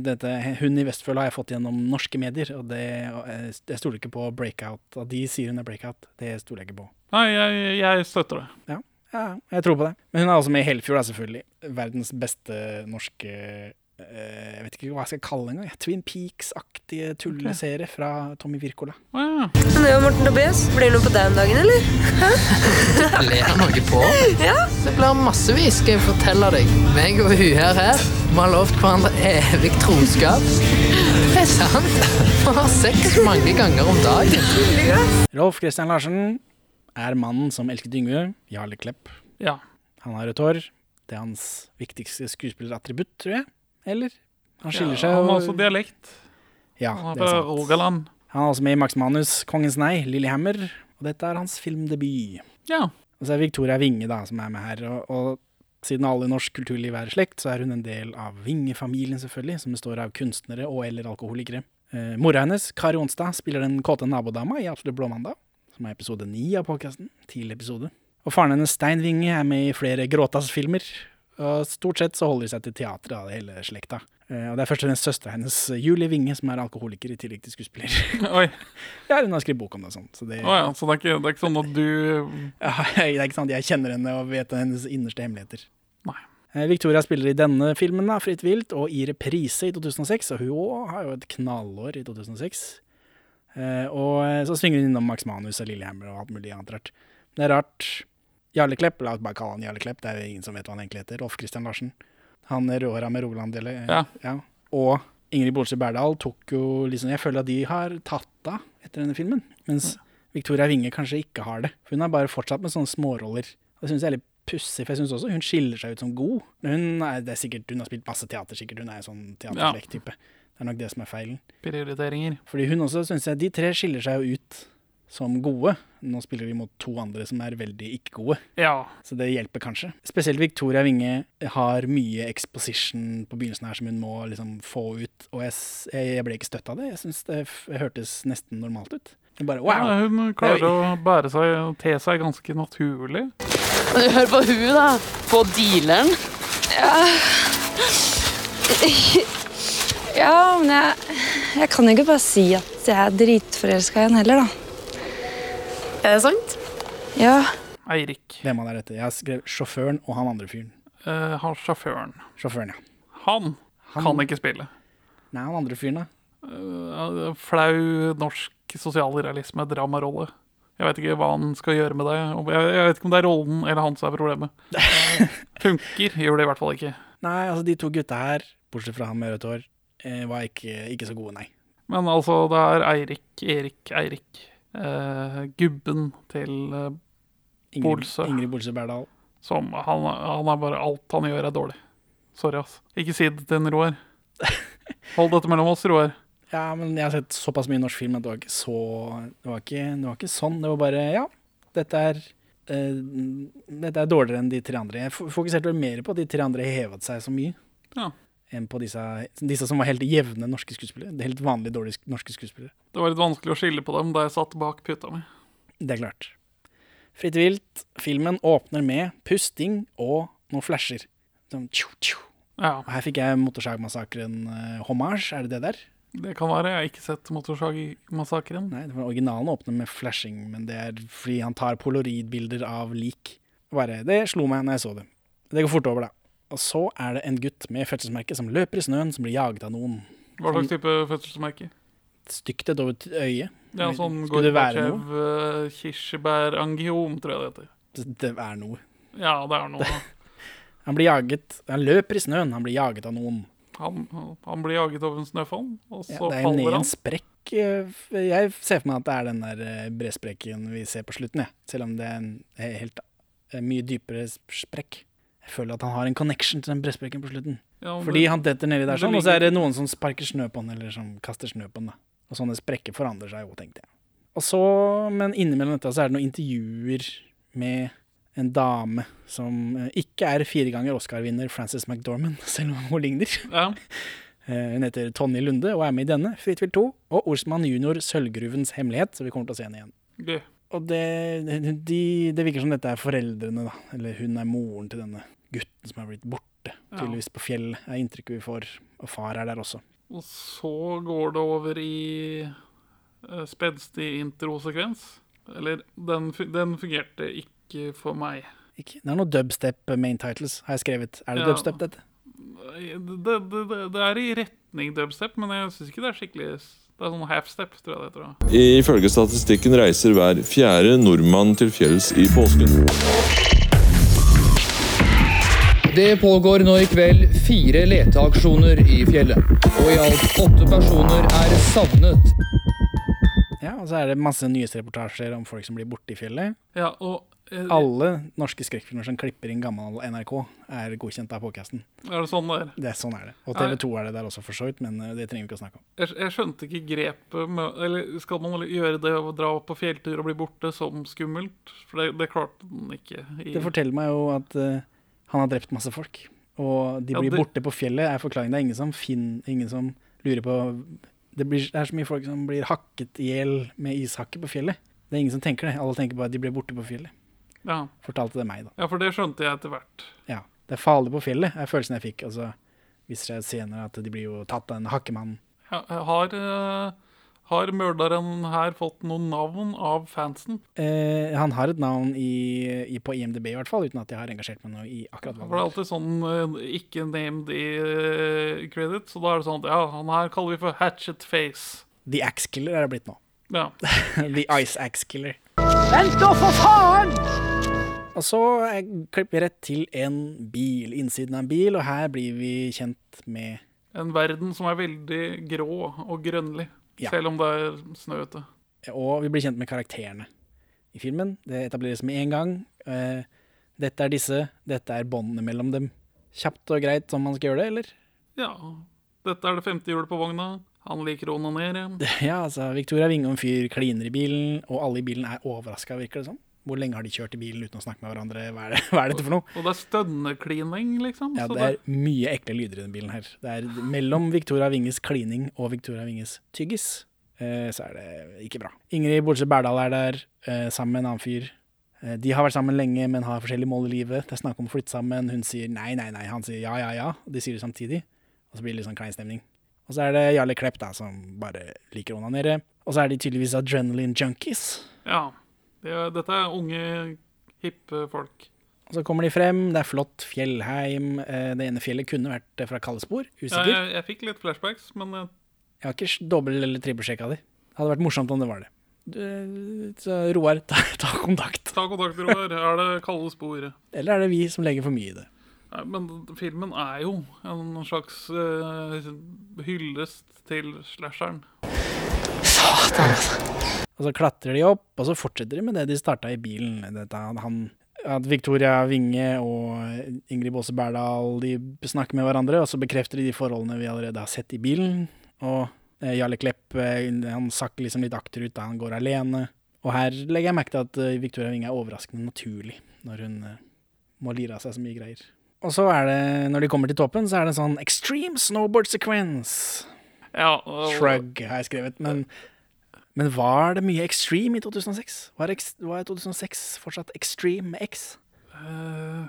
[SPEAKER 1] dette, hun i Vestfold har jeg fått gjennom norske medier, og det, og jeg jeg stoler ikke på breakout. At de sier hun er breakout, det stoler jeg ikke på.
[SPEAKER 2] Nei, jeg, jeg støtter det.
[SPEAKER 1] Ja, ja, jeg tror på det. Men hun er også med i Hellfjord, da, selvfølgelig. Verdens beste norske eh, Jeg vet ikke hva jeg skal kalle det engang. jeg. Twin Peaks-aktige tulleserie fra Tommy Wirkola.
[SPEAKER 2] Å, ja.
[SPEAKER 9] Men jeg og Morten Tobias, blir det noe på deg om dagen, eller?
[SPEAKER 6] Ler noe på. Det blir massevis, skal jeg fortelle deg. Meg og hun her her, vi har lovt hverandre evig troskap. Det er sant. Vi har sex mange ganger om dagen.
[SPEAKER 1] Rolf Christian Larsen er mannen som elsket Yngve. Jarle Klepp.
[SPEAKER 2] ja.
[SPEAKER 1] Han har rødt hår. Det er hans viktigste skuespillerattributt, tror jeg. Eller? Han skiller seg
[SPEAKER 2] Han har
[SPEAKER 1] jo-
[SPEAKER 2] også dialekt.
[SPEAKER 1] Ja,
[SPEAKER 2] Han er
[SPEAKER 1] det er
[SPEAKER 2] fra
[SPEAKER 1] sant.
[SPEAKER 2] Rogaland.
[SPEAKER 1] Han er også med i Max Manus, Kongens nei, Lillehammer, og dette er hans filmdebut.
[SPEAKER 2] Ja.
[SPEAKER 1] Og så er Victoria Winge da, som er med her, og, og siden alle i norsk kulturliv er i slekt, så er hun en del av Winge-familien selvfølgelig, som består av kunstnere og eller alkoholikere. Eh, Mora hennes, Kari Onstad, spiller den kåte nabodama i Absolutt blåmandag, som er episode 9 av podkasten, tidlig episode. Og faren hennes, Stein Winge, er med i flere Gråtas-filmer, og stort sett så holder de seg til teatret av hele slekta. Eh, Og det er først og fremst søstera hennes, Julie Winge, som er alkoholiker i tillegg til skuespiller.
[SPEAKER 2] Oi.
[SPEAKER 1] Ja, hun har skrevet bok om det og sånn. Så det,
[SPEAKER 2] Å, ja. Så det er, ikke, det er ikke sånn at du
[SPEAKER 1] Ja, det er ikke sant, jeg kjenner henne og vet hennes innerste hemmeligheter.
[SPEAKER 2] Nei.
[SPEAKER 1] Eh, Victoria spiller i denne filmen, da, Fritt vilt, og i reprise i 2006. Og hun også har jo et knallår i 2006. Eh, og eh, så svinger hun innom Max Manus og Lillehammer og alt mulig annet rart. Det er rart. Jarle Klepp, la oss bare kalle han Jarle Klepp, det er jo ingen som vet hva han egentlig heter. Rolf Christian Larsen. Han råra med Rogaland-dele. eh,
[SPEAKER 2] Ja.
[SPEAKER 1] ja. Og Ingrid Bolsø Berdal tok jo liksom Jeg føler at de har tatt av etter denne filmen. Mens Victoria Winge kanskje ikke har det. For hun har bare fortsatt med sånne småroller. Og Det syns jeg er litt pussig, for jeg synes også hun skiller seg ut som god. Men Hun, er, det er sikkert, hun har spilt masse teater, sikkert. Hun er en sånn teaterslekt-type. Det er nok det som er feilen.
[SPEAKER 2] Prioriteringer.
[SPEAKER 1] Fordi hun også, synes jeg, de tre skiller seg jo ut som gode. Nå spiller de mot to andre som er veldig ikke gode,
[SPEAKER 2] Ja.
[SPEAKER 1] så det hjelper kanskje. Spesielt Victoria Winge har mye exposition på begynnelsen her som hun må liksom få ut, og jeg, s- jeg ble ikke støtt av det. Jeg syns det f hørtes nesten normalt ut. Jeg bare wow!
[SPEAKER 2] Ja, hun klarer å bære seg og te seg ganske naturlig.
[SPEAKER 9] Hør på hun, da. På dealeren. Ja. ja, men jeg, jeg kan ikke bare si at jeg er dritforelska i han heller, da. Er det sant? Ja.
[SPEAKER 2] Eirik.
[SPEAKER 1] Hvem han er dette? Jeg har skrevet sjåføren og han andre fyren.
[SPEAKER 2] Eh, har sjåføren.
[SPEAKER 1] Sjåføren, ja.
[SPEAKER 2] Han, kan ikke spille.
[SPEAKER 1] Nei, han andre fyren, da.
[SPEAKER 2] Eh, Flau norsk sosialrealisme, dramarolle. Jeg vet ikke hva han skal gjøre med det. Om- Jeg jeg vet ikke om det er rollen eller han som er problemet. Funker gjør det i hvert fall ikke.
[SPEAKER 1] Nei, altså de to gutta her, bortsett fra han med rødt hår, eh, var ikke, ikke så gode, nei.
[SPEAKER 2] Men altså, det er Eirik, Erik, Eirik. eh, gubben til eh,
[SPEAKER 1] Ingrid
[SPEAKER 2] Bolsø.
[SPEAKER 1] Ingrid Bolsø Berdal.
[SPEAKER 2] som han, han er bare Alt han gjør, er dårlig. Sorry, ass. Ikke si det til en Roar. Hold dette mellom oss, Roar.
[SPEAKER 1] Ja, men jeg har sett såpass mye norsk film at det var ikke så Det var ikke, det var ikke sånn. Det var bare Ja, dette er eh, dette er dårligere enn de tre andre. Jeg fo- fokuserte vel mer på at de tre andre hevet seg så mye
[SPEAKER 2] Ja.
[SPEAKER 1] enn på disse, disse som var helt jevne norske skuespillere. Det er Helt vanlige dårlige sk- norske skuespillere.
[SPEAKER 2] Det var litt vanskelig å skille på dem da jeg satt bak puta mi.
[SPEAKER 1] Det er klart. Fritt vilt. Filmen åpner med pusting og noen flasher. Sånn tjo, tjo.
[SPEAKER 2] Ja,
[SPEAKER 1] Og Her fikk jeg Motorsagmassakren eh, homage, er det det der?
[SPEAKER 2] Det kan være. Jeg har ikke sett Motorsagmassakren.
[SPEAKER 1] Nei, det var originalen åpner med flashing, men det er fordi han tar polaroidbilder av lik. Bare, det slo meg når jeg så det. Det går fort over, da. Og så er det en gutt med fødselsmerke som løper i snøen, som blir jaget av noen.
[SPEAKER 2] Hva slags type fødselsmerke?
[SPEAKER 1] Stygt et over t- øyet.
[SPEAKER 2] Det er sånn
[SPEAKER 1] Skulle det være noe?
[SPEAKER 2] Gorbatsjev, kirsebærangiom, tror jeg det heter.
[SPEAKER 1] Det- Det er noe.
[SPEAKER 2] Ja, det er noe.
[SPEAKER 1] Han blir jaget Han løper i snøen, han blir jaget av noen.
[SPEAKER 2] Han, han blir jaget av en snøfall, og
[SPEAKER 1] Ja,
[SPEAKER 2] så
[SPEAKER 1] det er ned
[SPEAKER 2] faller
[SPEAKER 1] i en
[SPEAKER 2] han.
[SPEAKER 1] sprekk. eh, f- Jeg ser for meg at det er den der eh, bresprekken vi ser på slutten, jeg. Selv om det er en eh, helt eh, mye dypere sp- sprekk. Jeg føler at han har en connection til den bresprekken på slutten.
[SPEAKER 2] Ja, men-
[SPEAKER 1] Fordi han detter nedi der
[SPEAKER 2] det
[SPEAKER 1] sånn, og så er
[SPEAKER 2] ligger-
[SPEAKER 1] det noen som sparker snø på han, eller som kaster snø på han, da. Og sånne sprekker forandrer seg jo, tenkte jeg. Og så, men innimellom dette så er det noen intervjuer med en dame som eh, ikke er fire ganger Oscar-vinner Frances McDormand, selv om hun ligner.
[SPEAKER 2] Ja,
[SPEAKER 1] Eh, Hun heter Tonje Lunde og er med i denne, Fritt vilt 2, og Olsmann junior Sølvgruvens hemmelighet, så vi kommer til å se henne igjen.
[SPEAKER 2] gøy.
[SPEAKER 1] Og det, de, det virker som dette er foreldrene, da. Eller hun er moren til denne gutten som er blitt borte, tydeligvis på fjellet, er inntrykket vi får. Og far er der også.
[SPEAKER 2] Og så går det over i eh, spenstig introsekvens. Eller, den, fu- den fungerte ikke for meg.
[SPEAKER 1] Ikke? Det er noe dubstep main titles, har jeg skrevet. Er det
[SPEAKER 2] Ja.
[SPEAKER 1] dubstep, dette?
[SPEAKER 2] Det, det, det, det er i retning dubstep, men jeg syns ikke det er skikkelig Det er sånn halfstep, tror jeg det heter. da.
[SPEAKER 4] Ifølge statistikken reiser hver fjerde nordmann til fjells i påsken.
[SPEAKER 10] Det pågår nå i kveld fire leteaksjoner i fjellet. Og i alt åtte personer er savnet.
[SPEAKER 1] Ja, og så er det masse nyhetsreportasjer om folk som blir borte i fjellet.
[SPEAKER 2] Ja, og eh,
[SPEAKER 1] Alle norske skrekkfilmer som klipper inn gammel NRK, er godkjent av podkasten.
[SPEAKER 2] er det sånn der?
[SPEAKER 1] Det er sånn er det. Og TV 2 er det der også, for så vidt, men eh, det trenger vi ikke å snakke om.
[SPEAKER 2] Jeg, jeg skjønte ikke grepet med Eller skal man gjøre det å dra på fjelltur og bli borte som skummelt? For det, det klarte den ikke. I,
[SPEAKER 1] Det forteller meg jo at eh, han har drept masse folk. Og de
[SPEAKER 2] Ja,
[SPEAKER 1] blir
[SPEAKER 2] det-
[SPEAKER 1] borte på fjellet, er forklaringen. Det er ingen som finner Ingen som lurer på det, blir, det er så mye folk som blir hakket i hjel med ishakke på fjellet. Det er ingen som tenker det. Alle tenker bare at de ble borte på fjellet.
[SPEAKER 2] ja.
[SPEAKER 1] Fortalte det meg, da.
[SPEAKER 2] ja, for det skjønte jeg etter hvert.
[SPEAKER 1] Ja. Det er farlig på fjellet, er følelsen jeg fikk. Og så viser det seg senere at de blir jo tatt av en hakkemann.
[SPEAKER 2] Ja, Har, eh, har morderen her fått noe navn av fansen?
[SPEAKER 1] Eh, han har et navn i, i, på IMDb, i hvert fall, uten at jeg har engasjert meg noe i akkurat hva
[SPEAKER 2] For det er
[SPEAKER 1] det er.
[SPEAKER 2] alltid sånn eh, ikke named i eh, credit, så da er det sånn at ja, han her kaller vi for Hatchet Face.
[SPEAKER 1] The Axe Killer er det blitt nå.
[SPEAKER 2] Ja.
[SPEAKER 1] The Ice Axe Killer. Vent da, for faen! Og så eh, klipper vi rett til en bil, innsiden av en bil, og her blir vi kjent med
[SPEAKER 2] En verden som er veldig grå og grønnlig,
[SPEAKER 1] Ja.
[SPEAKER 2] selv om det er snø ute.
[SPEAKER 1] Og vi blir kjent med karakterene i filmen. Det etableres med en gang. Eh, Dette er disse, dette er båndene mellom dem. Kjapt og greit som man skal gjøre det, eller?
[SPEAKER 2] Ja. Dette er det femte hjulet på vogna. Han liker å onanere.
[SPEAKER 1] Ja, altså, Victoria Vingom fyr kliner i bilen, og alle i bilen er overraska, virker det som. Hvor lenge har de kjørt i bilen uten å snakke med hverandre? Hva er, det, hva er dette for noe?
[SPEAKER 2] Og det er stønneklining, liksom.
[SPEAKER 1] Ja,
[SPEAKER 2] så
[SPEAKER 1] det er mye ekle lyder i den bilen her. Det er mellom Victoria Winges klining og Victoria Winges tyggis, eh, så er det ikke bra. Ingrid Bolse Berdal er der, eh, sammen med en annen fyr. Eh, De har vært sammen lenge, men har forskjellige mål i livet. Det er snakk om å flytte sammen. Hun sier nei, nei, nei. Han sier ja, ja, ja. Og de sier det samtidig. Og så blir det litt sånn klein stemning. Og så er det Jarle Klepp, da, som bare liker å onanere. Og så er de tydeligvis adrenaline junkies.
[SPEAKER 2] Ja. Det er, dette er unge, hippe folk.
[SPEAKER 1] Og så kommer de frem. Det er flott fjellheim. Eh, Det ene fjellet kunne vært eh, fra Kallespor.
[SPEAKER 2] Ja,
[SPEAKER 1] Usikker.
[SPEAKER 2] jeg, jeg fikk litt flashbacks, men eh,
[SPEAKER 1] Jeg har ikke s- dobbel- eller trippelsjekka de. Det hadde vært morsomt om det var det. Du, så Roar, ta, ta kontakt.
[SPEAKER 2] ta kontakt, Roar. Er det kalde spor?
[SPEAKER 1] Eller er det vi som legger for mye i det?
[SPEAKER 2] Nei, Men filmen er jo en slags eh, hyllest til slasheren.
[SPEAKER 1] Og så klatrer de opp, og så fortsetter de med det de starta i bilen. Dette, at han, at Victoria Winge og Ingrid Baase Berdal de snakker med hverandre, og så bekrefter de de forholdene vi allerede har sett i bilen. Og eh, Jarle Klepp eh, han sakker liksom litt akterut da han går alene. Og her legger jeg merke til at eh, Victoria Winge er overraskende naturlig når hun eh, må lire av seg så mye greier. Og så er det, når de kommer til toppen, så er det en sånn extreme snowboard sequence.
[SPEAKER 2] Ja, og-
[SPEAKER 1] Shrug har jeg skrevet, men, men var det mye extreme i 2006? Var, ex, var 2006 fortsatt extreme med X?
[SPEAKER 2] Eh,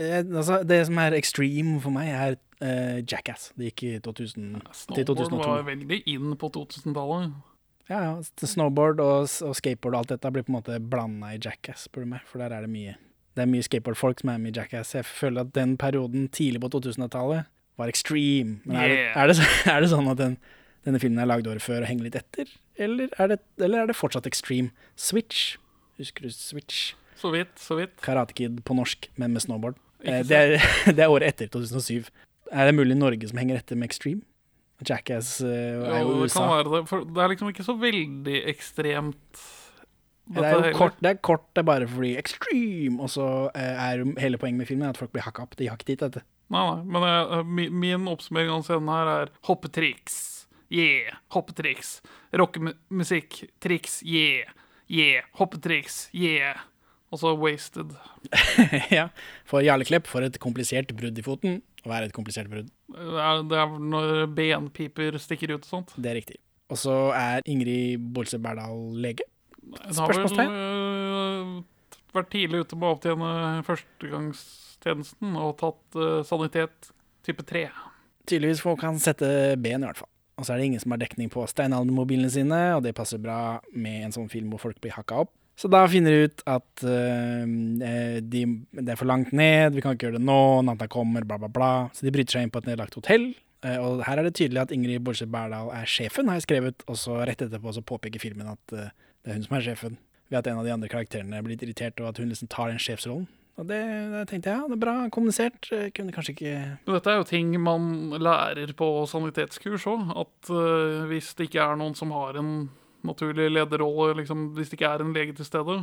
[SPEAKER 1] Eh, altså, det som er extreme for meg, er eh, Jackass. Det gikk i 2000, til
[SPEAKER 2] Snowboard
[SPEAKER 1] 2002.
[SPEAKER 2] var veldig inn på 2000-tallet.
[SPEAKER 1] Ja, ja. s- Snowboard og, s- og skateboard og alt dette blir på en måte blanda i Jackass, spør du meg. For der er det mye Det er mye skateboardfolk som er med i Jackass. Jeg føler at den perioden tidlig på 2000-tallet var extreme. Men er, det,
[SPEAKER 2] Yeah.
[SPEAKER 1] er, det, så- er det sånn at den, denne filmen er lagd året før og henger litt etter? Eller er, det, eller er det fortsatt extreme? Switch. Husker du Switch?
[SPEAKER 2] Så vidt, så vidt.
[SPEAKER 1] Karate Kid på norsk, men med snowboard.
[SPEAKER 2] Ikke
[SPEAKER 1] Eh, Det er, det er året etter 2007. Er det mulig Norge som henger etter med extreme? Jackass eh, er
[SPEAKER 2] Jo,
[SPEAKER 1] jo
[SPEAKER 2] det kan
[SPEAKER 1] USA.
[SPEAKER 2] være det. For det er liksom ikke så veldig ekstremt.
[SPEAKER 1] Det
[SPEAKER 2] dette
[SPEAKER 1] er jo
[SPEAKER 2] heller.
[SPEAKER 1] kort, det er kort, det er bare fordi extreme, og så eh, er jo hele poenget med filmen at folk blir hakka opp. De har ikke tid til dette.
[SPEAKER 2] Nei, nei. Men eh, mi- min oppsummering av scenen her er hoppetriks. Yeah. Hoppetriks. Rockemusikk. Triks. Yeah. Yeah. Hoppetriks. Yeah. Og så wasted.
[SPEAKER 1] ja. For Jarle Klepp får et komplisert brudd i foten. Hva er et komplisert brudd?
[SPEAKER 2] Det er, det er vel når benpiper stikker ut og sånt.
[SPEAKER 1] Det er riktig. Og så er Ingrid Bolse Berdal lege.
[SPEAKER 2] Hun har vel
[SPEAKER 1] Spørsmålstegn?
[SPEAKER 2] øh, vært tidlig ute med å avtjene førstegangstjenesten og tatt øh, sanitet type 3.
[SPEAKER 1] Tydeligvis folk kan sette ben, i hvert fall. Og så er det ingen som har dekning på steinaldermobilene sine, og det passer bra med en sånn film hvor folk blir hakka opp. Så da finner de ut at eh, de, det er for langt ned, vi kan ikke gjøre det nå, natta kommer, bla, bla, bla. Så de bryter seg inn på et nedlagt hotell. eh, og her er det tydelig at Ingrid Bolsje Berdal er sjefen, har jeg skrevet. Og så rett etterpå så påpeker filmen at eh, det er hun som er sjefen. Ved at en av de andre karakterene blir litt irritert, og at hun liksom tar den sjefsrollen. Og det, det tenkte jeg, ja, det er bra kommunisert. eh, Kunne kanskje ikke
[SPEAKER 2] Men dette er jo ting man lærer på sanitetskurs òg. At øh, hvis det ikke er noen som har en naturlig lederrolle, liksom, hvis det ikke er en lege til stede,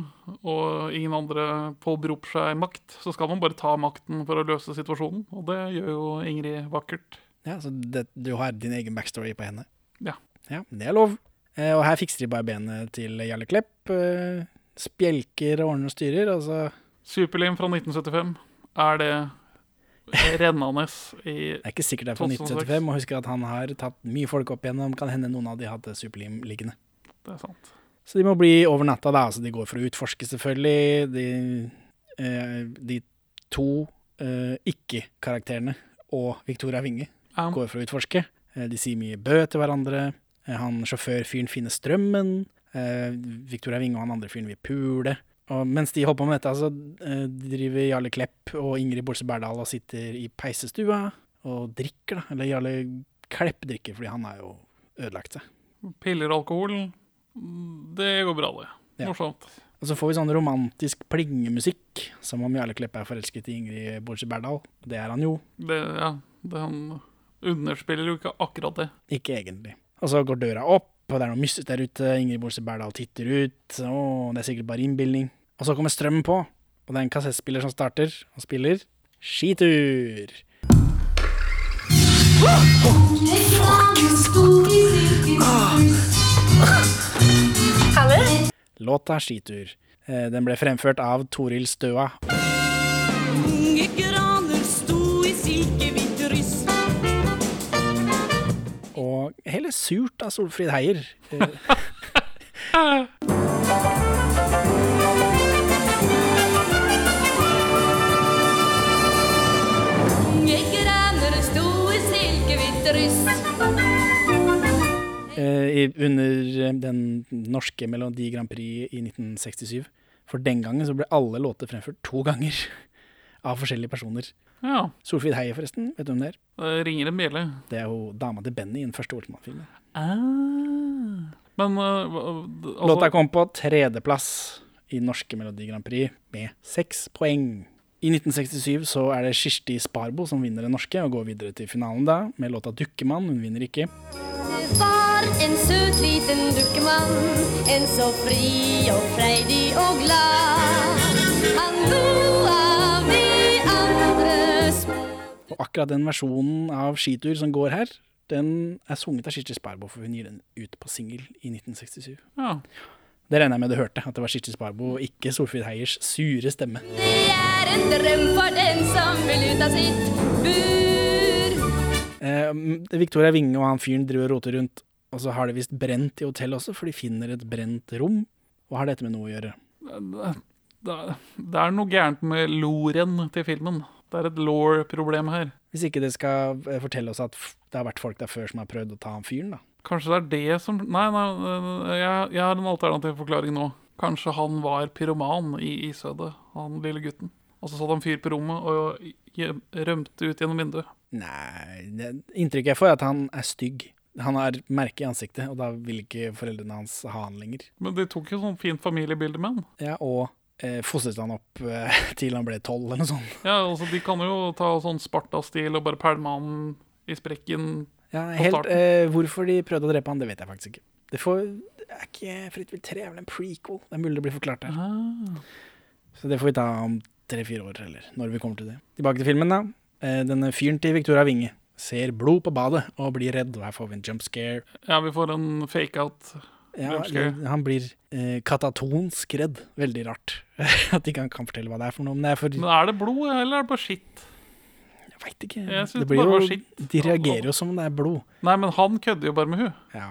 [SPEAKER 2] og ingen andre påberoper seg makt, så skal man bare ta makten for å løse situasjonen. Og det gjør jo Ingrid vakkert.
[SPEAKER 1] Ja, så det, du har din egen backstory på henne?
[SPEAKER 2] Ja.
[SPEAKER 1] Ja, Det er lov. Eh, og her fikser de bare benet til Jarle Klepp. Eh, spjelker og ordner og styrer. Og så
[SPEAKER 2] Superlim fra 1975 er det rennende i
[SPEAKER 1] Det er ikke sikkert det er fra 1975, og husker at han har tatt mye folk opp igjennom. Kan hende noen av de hadde superlim liggende.
[SPEAKER 2] Det er sant.
[SPEAKER 1] Så de må bli over natta, da. Altså, de går for å utforske, selvfølgelig. De, eh, de to eh, ikke-karakterene og Victoria Winge
[SPEAKER 2] Ja.
[SPEAKER 1] går for å utforske. Eh, de sier mye bø til hverandre. Eh, han sjåførfyren finner strømmen. Eh, Victoria Winge og han andre fyren vil pule. Og mens de holder på med dette, så eh, driver Jarle Klepp og Ingrid Bolse Berdal og sitter i peisestua og drikker, da. Eller Jarle Klepp drikker, fordi han har jo ødelagt seg.
[SPEAKER 2] Piller og alkohol, det går bra, det.
[SPEAKER 1] Ja.
[SPEAKER 2] Morsomt.
[SPEAKER 1] Og så får vi sånn romantisk plingemusikk, som om Jarle Kleppe er forelsket i Ingrid Bolsje Berdal. Det er han jo,
[SPEAKER 2] Det, ja, det, han underspiller jo ikke akkurat det.
[SPEAKER 1] ikke egentlig. Og så går døra opp, og det er noe mystisk der ute. Ingrid Bolsje Berdal titter ut. Å, det er sikkert bare innbilning. Og så kommer strømmen på, og det er en kassettspiller som starter og spiller Skitur. Låta Skitur. Eh, Den ble fremført av Toril Støa
[SPEAKER 11] Unge graner sto i silkehvitt ryst.
[SPEAKER 1] og heller surt av Solfrid Heier. Eh,
[SPEAKER 11] Unge graner sto i silkehvitt ryst.
[SPEAKER 1] eh, i- under eh, den norske Melodi Grand Prix i 1967. For den gangen så ble alle låter fremført to ganger av forskjellige personer.
[SPEAKER 2] Ja,
[SPEAKER 1] Solfrid Heie, forresten. Vet du hvem det er?
[SPEAKER 2] det ringer en bjelle.
[SPEAKER 1] Det er jo dama til Benny i den første Olsenmann-filmen.
[SPEAKER 2] Men øh, hva- d- altså,
[SPEAKER 1] Låta kom på tredjeplass i norske Melodi Grand Prix med seks poeng. I 1967 så er det Kirsti Sparbo som vinner den norske og går videre til finalen da, med låta 'Dukkemann'. Hun vinner ikke.
[SPEAKER 11] Det var en søt liten dukkemann, en så fri og freidig og glad. Han lo av de andres
[SPEAKER 1] Og akkurat den versjonen av Skitur som går her, den er sunget av Kirsti Sparbo, for hun gir den ut på singel i 1967.
[SPEAKER 2] ja.
[SPEAKER 1] Det regner jeg med du hørte, at det var Kirsti Sparbo, og ikke Solfrid Heiers sure stemme.
[SPEAKER 11] er en drøm for den som vil ut av sitt bur.
[SPEAKER 1] Eh, Victoria Winge og han fyren driver og roter rundt, og så har de visst brent i hotellet også, for de finner et brent rom. Hva har dette med noe å gjøre?
[SPEAKER 2] Det, det, det er noe gærent med loren til filmen. Det er et law-problem her.
[SPEAKER 1] Hvis ikke det skal eh, fortelle oss at f- det har vært folk der før som har prøvd å ta han fyren, da.
[SPEAKER 2] Kanskje det er det som Nei, nei, nei, jeg, jeg har en alternativ forklaring nå. Kanskje han var pyroman i Isødet, han lille gutten. Og så satt han fyr på rommet og gjem- rømte ut gjennom vinduet.
[SPEAKER 1] Nei, det, inntrykket jeg får er at han er stygg. Han har merke i ansiktet, og da vil ikke foreldrene hans ha han lenger.
[SPEAKER 2] Men de tok jo sånn fint familiebilde med han.
[SPEAKER 1] Ja, og eh, fostret han opp eh, til han ble tolv eller noe sånt.
[SPEAKER 2] Ja, altså De kan jo ta sånn Sparta-stil og bare pælme han i sprekken.
[SPEAKER 1] Ja,
[SPEAKER 2] på
[SPEAKER 1] helt,
[SPEAKER 2] starten.
[SPEAKER 1] eh, hvorfor de prøvde å drepe han, det vet jeg faktisk ikke. Det, får, det er ikke Fritt vilt 3, er vel en prequel? Det er mulig det blir forklart der. Så det får vi ta om tre-fire år, eller når vi kommer til det. Tilbake til filmen, da. Eh, denne fyren til Victoria Winge ser blod på badet og blir redd, og her får vi en jump scare.
[SPEAKER 2] Ja, vi får en fake-out.
[SPEAKER 1] Ja,
[SPEAKER 2] Jump scare.
[SPEAKER 1] eller han blir eh, katatonsk redd. Veldig rart at de ikke kan, kan fortelle hva det er for noe. Men det er for
[SPEAKER 2] Men er det blod, eller er det bare skitt?
[SPEAKER 1] Jeg veit ikke.
[SPEAKER 2] Jeg synes
[SPEAKER 1] det blir
[SPEAKER 2] bare var
[SPEAKER 1] jo,
[SPEAKER 2] skitt.
[SPEAKER 1] de reagerer jo som om det er blod.
[SPEAKER 2] Nei, men han kødder jo bare med hun.
[SPEAKER 1] Ja.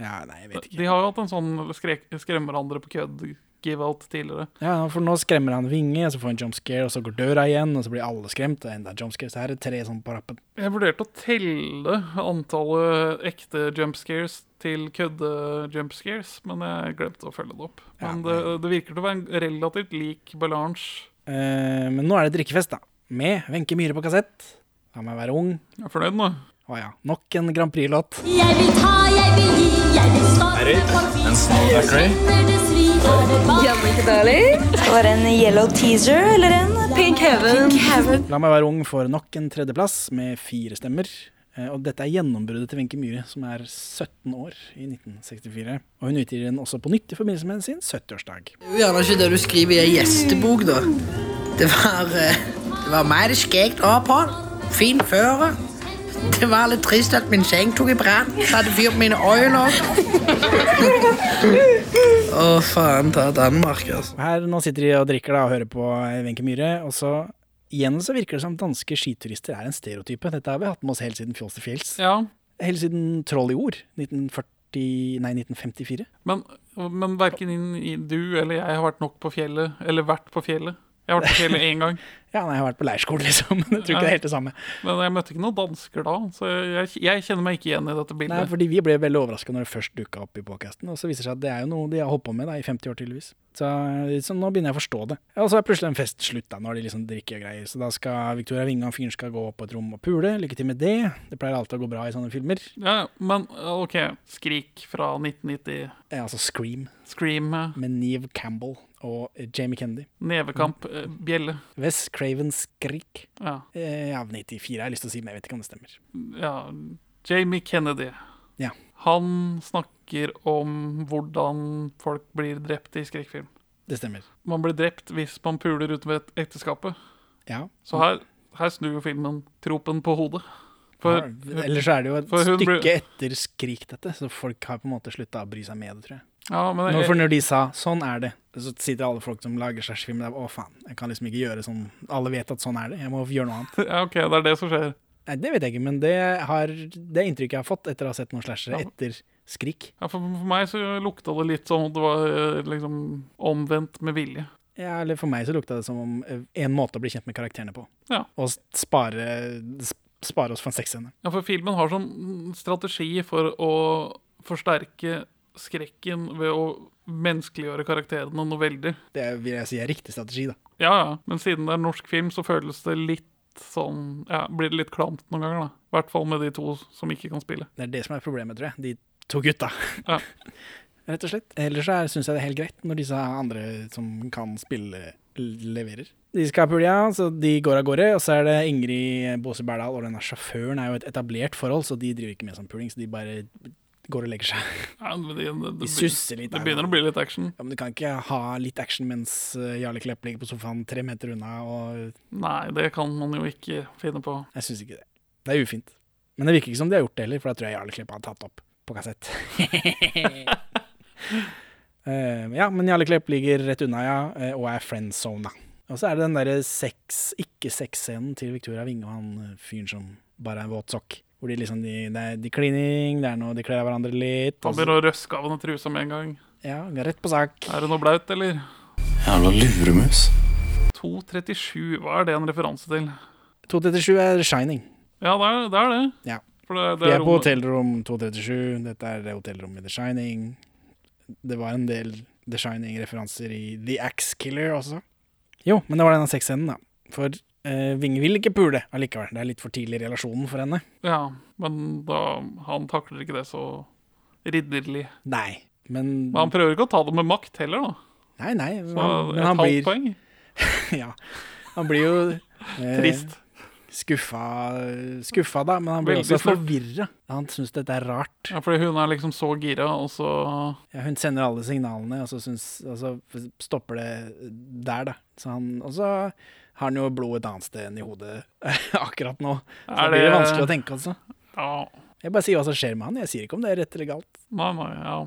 [SPEAKER 1] nei, jeg
[SPEAKER 2] vet ikke. De har jo hatt en sånn skrek, skremme hverandre på kødd give-out tidligere.
[SPEAKER 1] Ja, for nå skremmer han Vinge, og så får han jump scare, og så går døra igjen, og så blir alle skremt. Og enda jump scare, så her er det tre sånn på rappen.
[SPEAKER 2] Jeg vurderte å telle antallet ekte jump scares til kødde jump scares, men jeg glemte å følge det opp. Men det, det virker til å være en relativt lik balanse.
[SPEAKER 1] Eh, men nå er det drikkefest, da. Med Wenche Myhre på kassett. La meg være ung.
[SPEAKER 2] Jeg er fornøyd nå.
[SPEAKER 1] Å ja. Nok en Grand Prix-låt.
[SPEAKER 11] Jeg vil ta, jeg vil gi, jeg vil
[SPEAKER 1] Er det en snart
[SPEAKER 9] Jannicke Darling. Skal være en yellow teaser eller en pink heaven.
[SPEAKER 1] La meg være ung får nok en tredjeplass med fire stemmer. Eh, Og dette er gjennombruddet til Wenche Myhre, som er 17 år i 1964. Og hun utgir den også på nytt i forbindelse med sin 70-årsdag.
[SPEAKER 6] Det er jo gjerne ikke det du skriver i ei gjestebok, da. Det var, eh, det var mer skjegt å ha på. Fin føre. Det var litt trist at min seng tok i brann. Satte fyr på mine øyne. Å, faen ta Danmark, altså.
[SPEAKER 1] Her nå sitter de og drikker da, og hører på eh, Wenche Myhre, og så igjen så virker det som danske skiturister er en stereotype. Dette har vi hatt med oss helt siden Fjols til fjells.
[SPEAKER 2] Ja.
[SPEAKER 1] Helt siden Troll i ord. 1940 Nei, 1954.
[SPEAKER 2] Men, men verken inn i du eller jeg har vært nok på fjellet, eller vært på fjellet. Jeg har vært på fjellet én gang.
[SPEAKER 1] Ja, nei, jeg har vært på leirskole, liksom. Men jeg tror ikke det er helt det samme.
[SPEAKER 2] Men jeg møtte ikke noen dansker da, så jeg, jeg kjenner meg ikke igjen i dette
[SPEAKER 1] Nei,
[SPEAKER 2] bildet.
[SPEAKER 1] fordi vi ble veldig overraska når det først dukka opp i podkasten. Og så viser det seg at det er jo noe de har holdt på med da, i 50 år, tydeligvis. Så, eh, så nå begynner jeg å forstå det. Og så er plutselig en fest slutt, da, når de liksom drikker og greier. Så da skal Victoria Winge og han fyren skal gå opp på et rom og pule. Lykke til med det. Det pleier alltid å gå bra i sånne filmer.
[SPEAKER 2] Ja, men OK, Skrik fra 1990.
[SPEAKER 1] Ja, altså Scream.
[SPEAKER 2] Scream eh,
[SPEAKER 1] Med Neve Campbell og eh, Jamie Kennedy.
[SPEAKER 2] Nevekamp, eh,
[SPEAKER 1] Mm.
[SPEAKER 2] bjelle.
[SPEAKER 1] Wes Cravens Skrik.
[SPEAKER 2] Ja.
[SPEAKER 1] Eh, ja, 94 jeg har lyst til å si, men jeg vet ikke om det stemmer.
[SPEAKER 2] ja, Jamie Kennedy.
[SPEAKER 1] Ja.
[SPEAKER 2] Han snakker om hvordan folk blir drept i skrekkfilm.
[SPEAKER 1] Det stemmer.
[SPEAKER 2] Man blir drept hvis man puler utenfor et- ekteskapet.
[SPEAKER 1] Ja.
[SPEAKER 2] Så her, her snur jo filmen tropen på hodet. For-
[SPEAKER 1] Ja, Ellers er det jo et
[SPEAKER 2] for hun
[SPEAKER 1] stykke
[SPEAKER 2] blir-
[SPEAKER 1] etter Skrik, dette, så folk har på en måte slutta å bry seg med det, tror jeg.
[SPEAKER 2] Ja, men
[SPEAKER 1] Nå,
[SPEAKER 2] jeg-
[SPEAKER 1] for når de sa 'sånn er det', så sitter alle folk som lager slashfilm der. Å, faen, jeg kan liksom ikke gjøre sånn. Alle vet at sånn er det, jeg må gjøre noe annet.
[SPEAKER 2] Ja, OK, det er det som skjer.
[SPEAKER 1] Nei, det vet jeg ikke, men det, har, det er inntrykket jeg har fått etter å ha sett noen slashere etter Skrik.
[SPEAKER 2] Ja, for, for meg så lukta det litt som om det var eh, liksom omvendt med vilje.
[SPEAKER 1] Ja, eller for meg så lukta det som om eh, en måte å bli kjent med karakterene på.
[SPEAKER 2] Ja.
[SPEAKER 1] Og s- spare, s- spare oss for en sexscene.
[SPEAKER 2] Ja, for filmen har som strategi for å forsterke skrekken ved å menneskeliggjøre karakterene noe veldig.
[SPEAKER 1] Det er- vil jeg si er riktig strategi, da.
[SPEAKER 2] Ja, ja. Men siden det er norsk film, så føles det litt sånn Ja, blir det litt klamt noen ganger, da. I hvert fall med de to som ikke kan spille.
[SPEAKER 1] Det er det som er problemet, tror jeg. De to gutta.
[SPEAKER 2] Ja.
[SPEAKER 1] Rett og slett. Ellers syns jeg det er helt greit når disse andre som kan spille, l- leverer. De skal ha pulja, så de går av gårde. Og så er det Ingrid Båse Berdal, og denne sjåføren er jo et etablert forhold, så de driver ikke med sånn puling, så de bare går og legger seg.
[SPEAKER 2] Ja, men det, det,
[SPEAKER 1] De susser litt,
[SPEAKER 2] Det
[SPEAKER 1] nei,
[SPEAKER 2] begynner å bli litt action.
[SPEAKER 1] Ja, men du kan ikke ha litt action mens eh, Jarle Klepp ligger på sofaen tre meter unna, og
[SPEAKER 2] Nei, det kan man jo ikke finne på.
[SPEAKER 1] jeg syns ikke det. Det er ufint. Men det virker ikke som de har gjort det heller, for da tror jeg Jarle Klepp har tatt opp på kassett. Eh, ja, men Jarle Klepp ligger rett unna, ja, eh, og er friendzona. Og så er det den derre sex, ikke-sex-scenen til Victoria Winge og han eh, fyren som bare er en våt sokk. Hvor de liksom, de, det er de klining, det er noe de kler av hverandre litt.
[SPEAKER 2] Han
[SPEAKER 1] og så-
[SPEAKER 2] begynner å røske av henne trusa med en gang.
[SPEAKER 1] Ja, rett på sak.
[SPEAKER 2] Er det noe blaut, eller?
[SPEAKER 8] Jævla luremus.
[SPEAKER 2] 2.37, hva er det en referanse til?
[SPEAKER 1] 237 er Shining.
[SPEAKER 2] Ja, det er det. Er det.
[SPEAKER 1] Ja.
[SPEAKER 2] For det,
[SPEAKER 1] Vi
[SPEAKER 2] det
[SPEAKER 1] er på
[SPEAKER 2] er rommet.
[SPEAKER 1] hotellrom 237. Dette er hotellrommet i The Shining. Det var en del The Shining-referanser i The Axe Killer også. Jo, men det var denne sexscenen, da. For eh, Vinge vil ikke pule allikevel. Det er litt for tidlig i relasjonen for henne.
[SPEAKER 2] Ja, men da, han takler ikke det så ridderlig.
[SPEAKER 1] Nei, men
[SPEAKER 2] Men han prøver ikke å ta det med makt heller, da.
[SPEAKER 1] Nei, nei. men
[SPEAKER 2] Så
[SPEAKER 1] han- men
[SPEAKER 2] et
[SPEAKER 1] han
[SPEAKER 2] halvt
[SPEAKER 1] blir- eh,
[SPEAKER 2] poeng.
[SPEAKER 1] ja. Han blir jo eh,
[SPEAKER 2] Trist.
[SPEAKER 1] Skuffa, skuffa, da, men han blir
[SPEAKER 2] Veldig
[SPEAKER 1] også
[SPEAKER 2] snurt.
[SPEAKER 1] forvirra. Han syns dette er rart.
[SPEAKER 2] Ja, fordi hun er liksom så gira, og så
[SPEAKER 1] Ja, hun sender alle signalene, og så, syns, og så stopper det der, da. Så han, og så har han jo blod et annet sted enn i hodet akkurat nå. Så
[SPEAKER 2] Er
[SPEAKER 1] det blir det
[SPEAKER 2] det-
[SPEAKER 1] vanskelig å tenke, altså.
[SPEAKER 2] Ja.
[SPEAKER 1] Jeg bare sier hva som skjer med han, jeg sier ikke om det er rett eller galt.
[SPEAKER 2] Nei, nei, ja.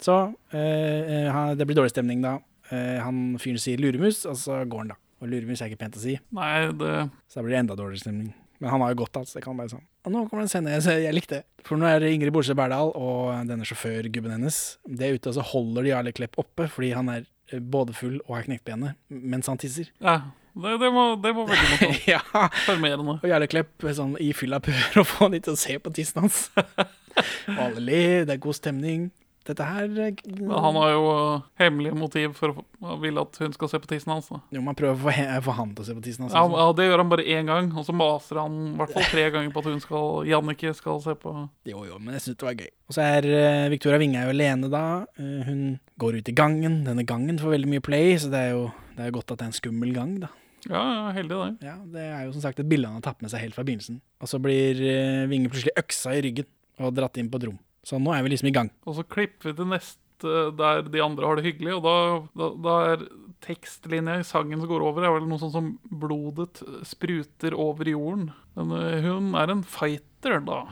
[SPEAKER 1] Så eh, eh, han- det blir dårlig stemning da. Eh, han fyren sier luremus, og så går han, da. Og luremus er ikke pent å si.
[SPEAKER 2] Nei, det
[SPEAKER 1] Så da blir det enda dårligere stemning. Men han har jo godt av altså, det. kan være sånn. Og nå kommer det en scene jeg, jeg likte. For nå er det Ingrid Bolstø Berdal og denne sjåførgubben hennes. De er ute, og så holder de Jarle Klepp oppe fordi han er eh, både full og har knekt benet mens han tisser.
[SPEAKER 2] Ja, det, det, var, det var veldig morsomt.
[SPEAKER 1] ja.
[SPEAKER 2] Sjarmerende.
[SPEAKER 1] Og Jarle Klepp eh, sånn, i fylla prøver å få de til å se på tissen hans. og alle ler, det er god stemning. Dette her eh,
[SPEAKER 2] Men Han har jo uh, hemmelige motiv for å få- ville at hun skal se på tissen hans. Da.
[SPEAKER 1] Jo, man prøver å få, he- få han til å se på tissen hans.
[SPEAKER 2] Ja,
[SPEAKER 1] også.
[SPEAKER 2] ja, Det gjør han bare én gang, og så maser han i hvert fall tre ganger på at hun skal, Jannicke skal se på.
[SPEAKER 1] Jo, jo, men jeg syns det var gøy. Og så er eh, Victoria Winge er jo alene da. Eh, hun går ut i gangen. Denne gangen får veldig mye play, så det er jo det er jo godt at det er en skummel gang, da.
[SPEAKER 2] Ja, ja, heldig det.
[SPEAKER 1] Ja, Det er jo som sagt et bilde han har tatt med seg helt fra begynnelsen. Og så blir eh, Winge plutselig øksa i ryggen og dratt inn på et rom. Så nå er vi liksom i gang.
[SPEAKER 2] Og så klipper vi til neste der de andre har det hyggelig, og da, da, da er tekstlinja i sangen som går over, er vel noe sånn som 'blodet spruter over jorden'. Men eh, hun er en fighter, da.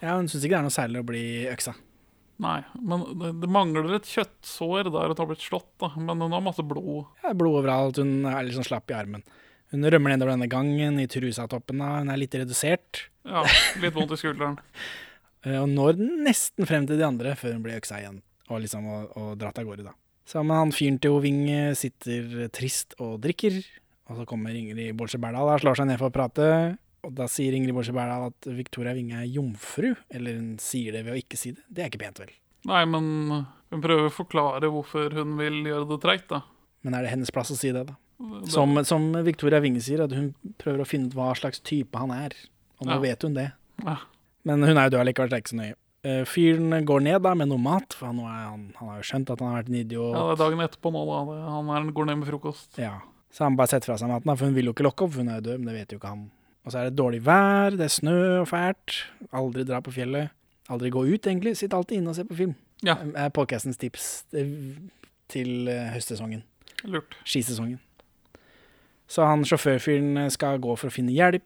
[SPEAKER 1] Ja, Hun syns ikke det er noe særlig å bli øksa.
[SPEAKER 2] Nei, men det, det mangler et kjøttsår der hun har blitt slått, da. Men hun har masse blod.
[SPEAKER 1] Ja, det er blod overalt, hun er litt sånn slapp i armen. Hun rømmer nedover denne gangen, i trusatoppen, da. hun er litt redusert.
[SPEAKER 2] Ja, litt vondt i skulderen.
[SPEAKER 1] Eh, Og når nesten frem til de andre før hun blir øksa igjen og liksom og, og dratt av gårde, da. Så men han fyren til Oving eh, sitter trist og drikker, og så kommer Ingrid Bolsje Berdal og slår seg ned for å prate. Og da sier Ingrid Bolsje Berdal at Victoria Winge er jomfru, eller hun sier det ved å ikke si det. Det er ikke pent, vel.
[SPEAKER 2] Nei, men hun prøver å forklare hvorfor hun vil gjøre det treigt, da.
[SPEAKER 1] Men er det hennes plass å si det, da?
[SPEAKER 2] Det-
[SPEAKER 1] Som, som Victoria Winge sier, at hun prøver å finne ut hva slags type han er. Og nå
[SPEAKER 2] Ja.
[SPEAKER 1] vet hun det.
[SPEAKER 2] Ja.
[SPEAKER 1] Men hun er jo død allikevel, så det er ikke så nøye. Eh, Fyren går ned da med noe mat, for nå er han, han har jo skjønt at han har vært en idiot.
[SPEAKER 2] Ja, det er dagen etterpå nå, da. Det- Han er, går ned med frokost.
[SPEAKER 1] Ja. Så han bare setter fra seg maten, da, for hun vil jo ikke lokke opp, for hun er jo død, men det vet jo ikke han. Og så er det dårlig vær, det er snø og fælt. Aldri dra på fjellet. Aldri gå ut, egentlig. Sitt alltid inne og se på film. Eh,
[SPEAKER 2] Ja.
[SPEAKER 1] Er podcastens tips eh, til eh, høstsesongen.
[SPEAKER 2] Lurt.
[SPEAKER 1] Skisesongen. Så han sjåførfyren eh, skal gå for å finne hjelp.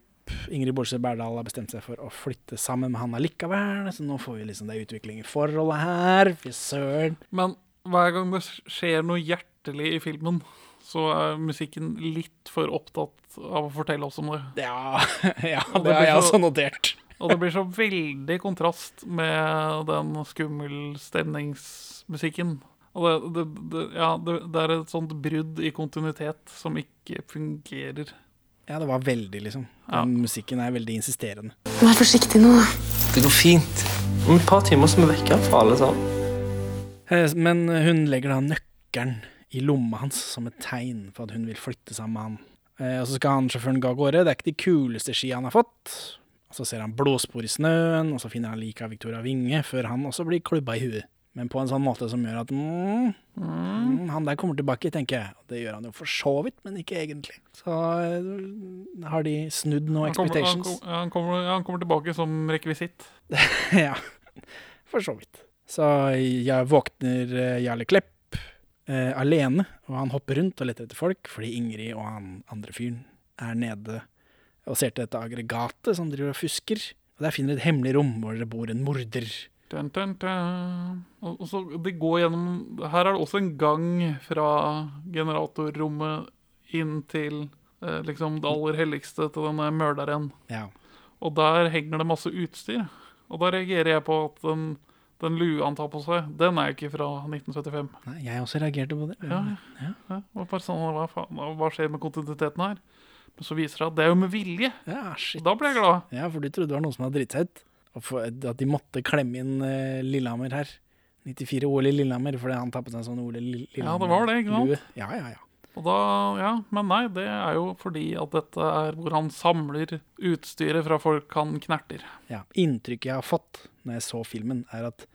[SPEAKER 1] Ingrid Bolsø Berdal har bestemt seg for å flytte sammen med han allikevel, så nå får vi liksom det utvikling i forholdet her. Fy søren.
[SPEAKER 2] Men hver gang det skjer noe hjertelig i filmen, så er musikken litt for opptatt av å fortelle oss om det.
[SPEAKER 1] Ja, ja
[SPEAKER 2] Og
[SPEAKER 1] det har
[SPEAKER 2] blir
[SPEAKER 1] jeg
[SPEAKER 2] så-
[SPEAKER 1] også notert.
[SPEAKER 2] Og det blir så veldig kontrast med den skummel stemningsmusikken. Og det, det, det, ja, det, det er et sånt brudd i kontinuitet som ikke fungerer.
[SPEAKER 1] Ja, det var veldig, liksom. Den musikken er veldig insisterende.
[SPEAKER 9] Vær forsiktig nå, da.
[SPEAKER 8] Det går fint. Om et par timer så er vi vekke herfra, alle sammen.
[SPEAKER 1] Eh, Men hun legger da nøkkelen i lomma hans som et tegn for at hun vil flytte sammen med han. Eh, Og så skal han sjåføren gå av gårde. Det er ikke de kuleste skia han har fått. Og så ser han blåspor i snøen, og så finner han liket av Victoria Winge før han også blir klubba i huet. Men på en sånn måte som gjør at mm, mm, han der kommer tilbake, tenker jeg. Og det gjør han jo for så vidt, men ikke egentlig. Så eh, har de snudd noen
[SPEAKER 2] Han kommer, han,
[SPEAKER 1] expectations.
[SPEAKER 2] kom- han, kommer, ja, han kommer tilbake som rekvisitt.
[SPEAKER 1] ja, for så vidt. Så jeg våkner eh, Jarle Klepp eh, alene, og han hopper rundt og leter etter folk, fordi Ingrid og han andre fyren er nede og ser til dette aggregatet som driver og fusker. Og der finner de et hemmelig rom hvor det bor en morder.
[SPEAKER 2] Dun, dun, dun. Og og så det går gjennom Her er det også en gang fra generatorrommet inn til eh, liksom det aller helligste til denne mørderen.
[SPEAKER 1] Ja.
[SPEAKER 2] Og der henger det masse utstyr. Og da reagerer jeg på at den, den lua han tar på seg, den er ikke fra 1975.
[SPEAKER 1] Nei, jeg også reagerte på det.
[SPEAKER 2] Ja, ja. ja. Det var bare sånn, hva, faen, hva skjer med kontinuiteten her? Men så viser det at det er jo med vilje. Og Da ble jeg glad.
[SPEAKER 1] Ja, for du trodde det var noen som hadde dritt seg ut. Og for, at de måtte klemme inn eh, Lillehammer her. 94 OL i Lillehammer, fordi han tappet seg en sånn OL i Lill-
[SPEAKER 2] Ja,
[SPEAKER 1] Lillehammer.
[SPEAKER 2] det var det, ikke sant?
[SPEAKER 1] lue. Ja, ja, ja.
[SPEAKER 2] Og da, ja, Men nei, det er jo fordi at dette er hvor han samler utstyret fra folk han knerter.
[SPEAKER 1] ja. Inntrykket jeg har fått når jeg så filmen, er at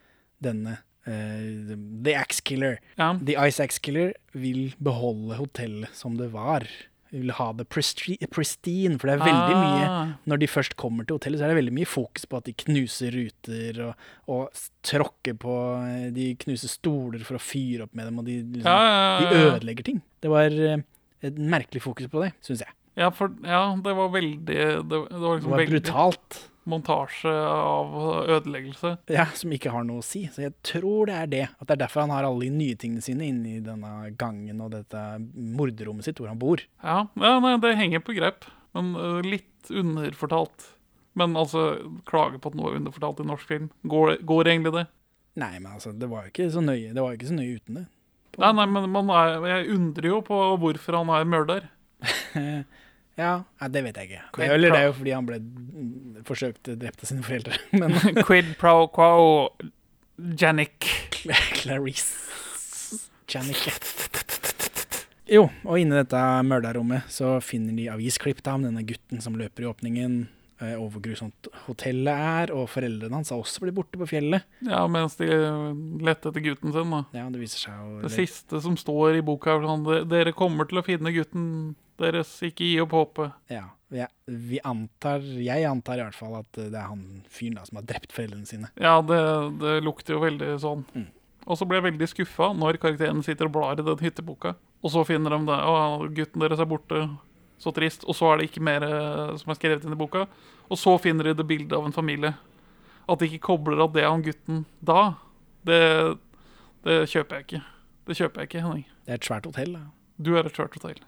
[SPEAKER 1] denne eh, The Axe Killer, The Ice Axe Killer, vil beholde hotellet som det var. De vil ha det pristri- pristine, for det er veldig
[SPEAKER 2] Ah.
[SPEAKER 1] mye Når de først kommer til hotellet, så er det veldig mye fokus på at de knuser ruter og, og s- tråkker på eh, De knuser stoler for å fyre opp med dem, og de, liksom,
[SPEAKER 2] Ah, Ja, ja, ja,
[SPEAKER 1] de
[SPEAKER 2] ja.
[SPEAKER 1] ødelegger ting. Det var eh, et merkelig fokus på det, syns jeg.
[SPEAKER 2] Ja, for, ja, det var veldig Det, det var
[SPEAKER 1] Det
[SPEAKER 2] liksom
[SPEAKER 1] var
[SPEAKER 2] veldig
[SPEAKER 1] brutalt.
[SPEAKER 2] Montasje av ødeleggelse.
[SPEAKER 1] Ja, som ikke har noe å si. Så jeg tror det er det. At det er derfor han har alle de nye tingene sine inni denne gangen og dette morderommet sitt hvor han bor.
[SPEAKER 2] Ja, ja nei, det henger på grep. Men øh, litt underfortalt. Men altså, klage på at noe er underfortalt i norsk film. Går, det- går egentlig det?
[SPEAKER 1] Nei, men altså, det var jo ikke så nøye, det var jo ikke så nøye uten det.
[SPEAKER 2] Nei, nei, men man er, jeg undrer jo på hvorfor han er mørder.
[SPEAKER 1] ja, nei, det vet jeg ikke. Det, eller det er jo fordi han ble mm, forsøkt drept av sine foreldre. Men
[SPEAKER 2] Quid pro quo Janik.
[SPEAKER 1] Clarice Janicke. Jo, og inni dette mørdarommet så finner de avisklipp da om denne gutten som løper i åpningen, eh, og hvor grusomt hotellet er, og foreldrene hans har også blitt borte på fjellet.
[SPEAKER 2] Ja, mens de lette etter gutten sin, da.
[SPEAKER 1] Ja, Det viser seg å
[SPEAKER 2] Det siste som står i boka, er sånn "Dere- Dere kommer til å finne gutten deres, ikke gi opp håpet.
[SPEAKER 1] Ja, vi, vi antar, jeg antar i hvert fall at eh, det er han fyren da som har drept foreldrene sine.
[SPEAKER 2] Ja, det, det lukter jo veldig sånn. Og så ble jeg veldig skuffa når karakteren sitter og blar i den hytteboka, og så finner de det. Å, gutten deres er borte. Så trist. Og så er det ikke mer eh, som er skrevet inn i boka. Og så finner de det bildet av en familie. At de ikke kobler av det han gutten da, det, det kjøper jeg ikke. Det kjøper jeg ikke, Henning.
[SPEAKER 1] Det er et svært hotell, da.
[SPEAKER 2] Du er et svært hotell.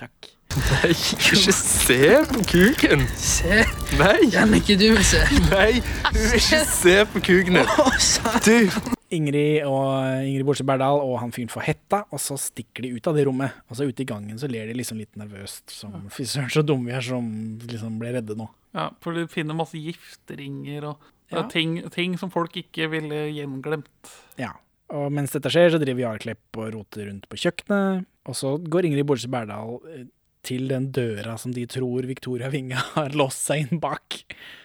[SPEAKER 12] Nei, ikke se på kuken!
[SPEAKER 6] Se.
[SPEAKER 12] Nei!
[SPEAKER 6] Jannicke, du vil se.
[SPEAKER 12] Nei, du vil ikke se på kuken din! Du!
[SPEAKER 1] Ingrid og eh, Ingrid Bortse Berdal og han fyren får hetta, og så stikker de ut av det rommet. Og så ute i gangen så ler de liksom litt nervøst, som fy søren så dumme vi er som liksom ble redde nå.
[SPEAKER 2] Ja, For de finner masse gifteringer og det
[SPEAKER 1] Ja.
[SPEAKER 2] er ting, ting som folk ikke ville gjenglemt.
[SPEAKER 1] Ja. Og mens dette skjer, så driver Jarl Klepp og roter rundt på kjøkkenet. Og så går Ingrid Bortse Berdal eh, til den døra som de tror Victoria Winge har låst seg inn bak,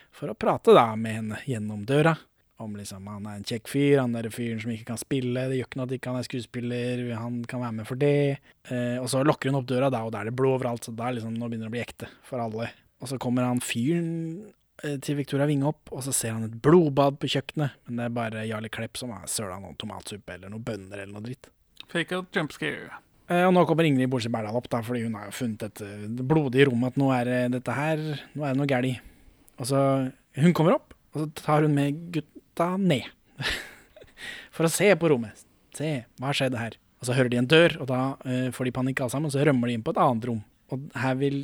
[SPEAKER 1] for å prate da med henne gjennom døra. Om liksom han er en kjekk fyr, han er fyren som ikke kan spille, det gjør ikke noe at ikke han er skuespiller, han kan være med for det. Eh, og så lokker hun opp døra, da, og da er det blod overalt, så da er liksom, nå begynner det å bli ekte for alle. Og så kommer han fyren eh, til Victoria Winge opp, og så ser han et blodbad på kjøkkenet. Men det er bare Jarle Klepp som har søla noen tomatsuppe eller noen bønner eller noe dritt.
[SPEAKER 2] Fake a jump scare.
[SPEAKER 1] Eh, Og nå kommer Ingrid Bolse Berdal opp, da, fordi hun har jo funnet dette blodige rommet at nå er det dette her, nå er det noe galt. Og så Hun kommer opp, og så tar hun med gutta ned. For å se på rommet. Se, hva skjedde her? Og så hører de en dør, og da eh, får de panikk alle sammen, og så rømmer de inn på et annet rom. Og her vil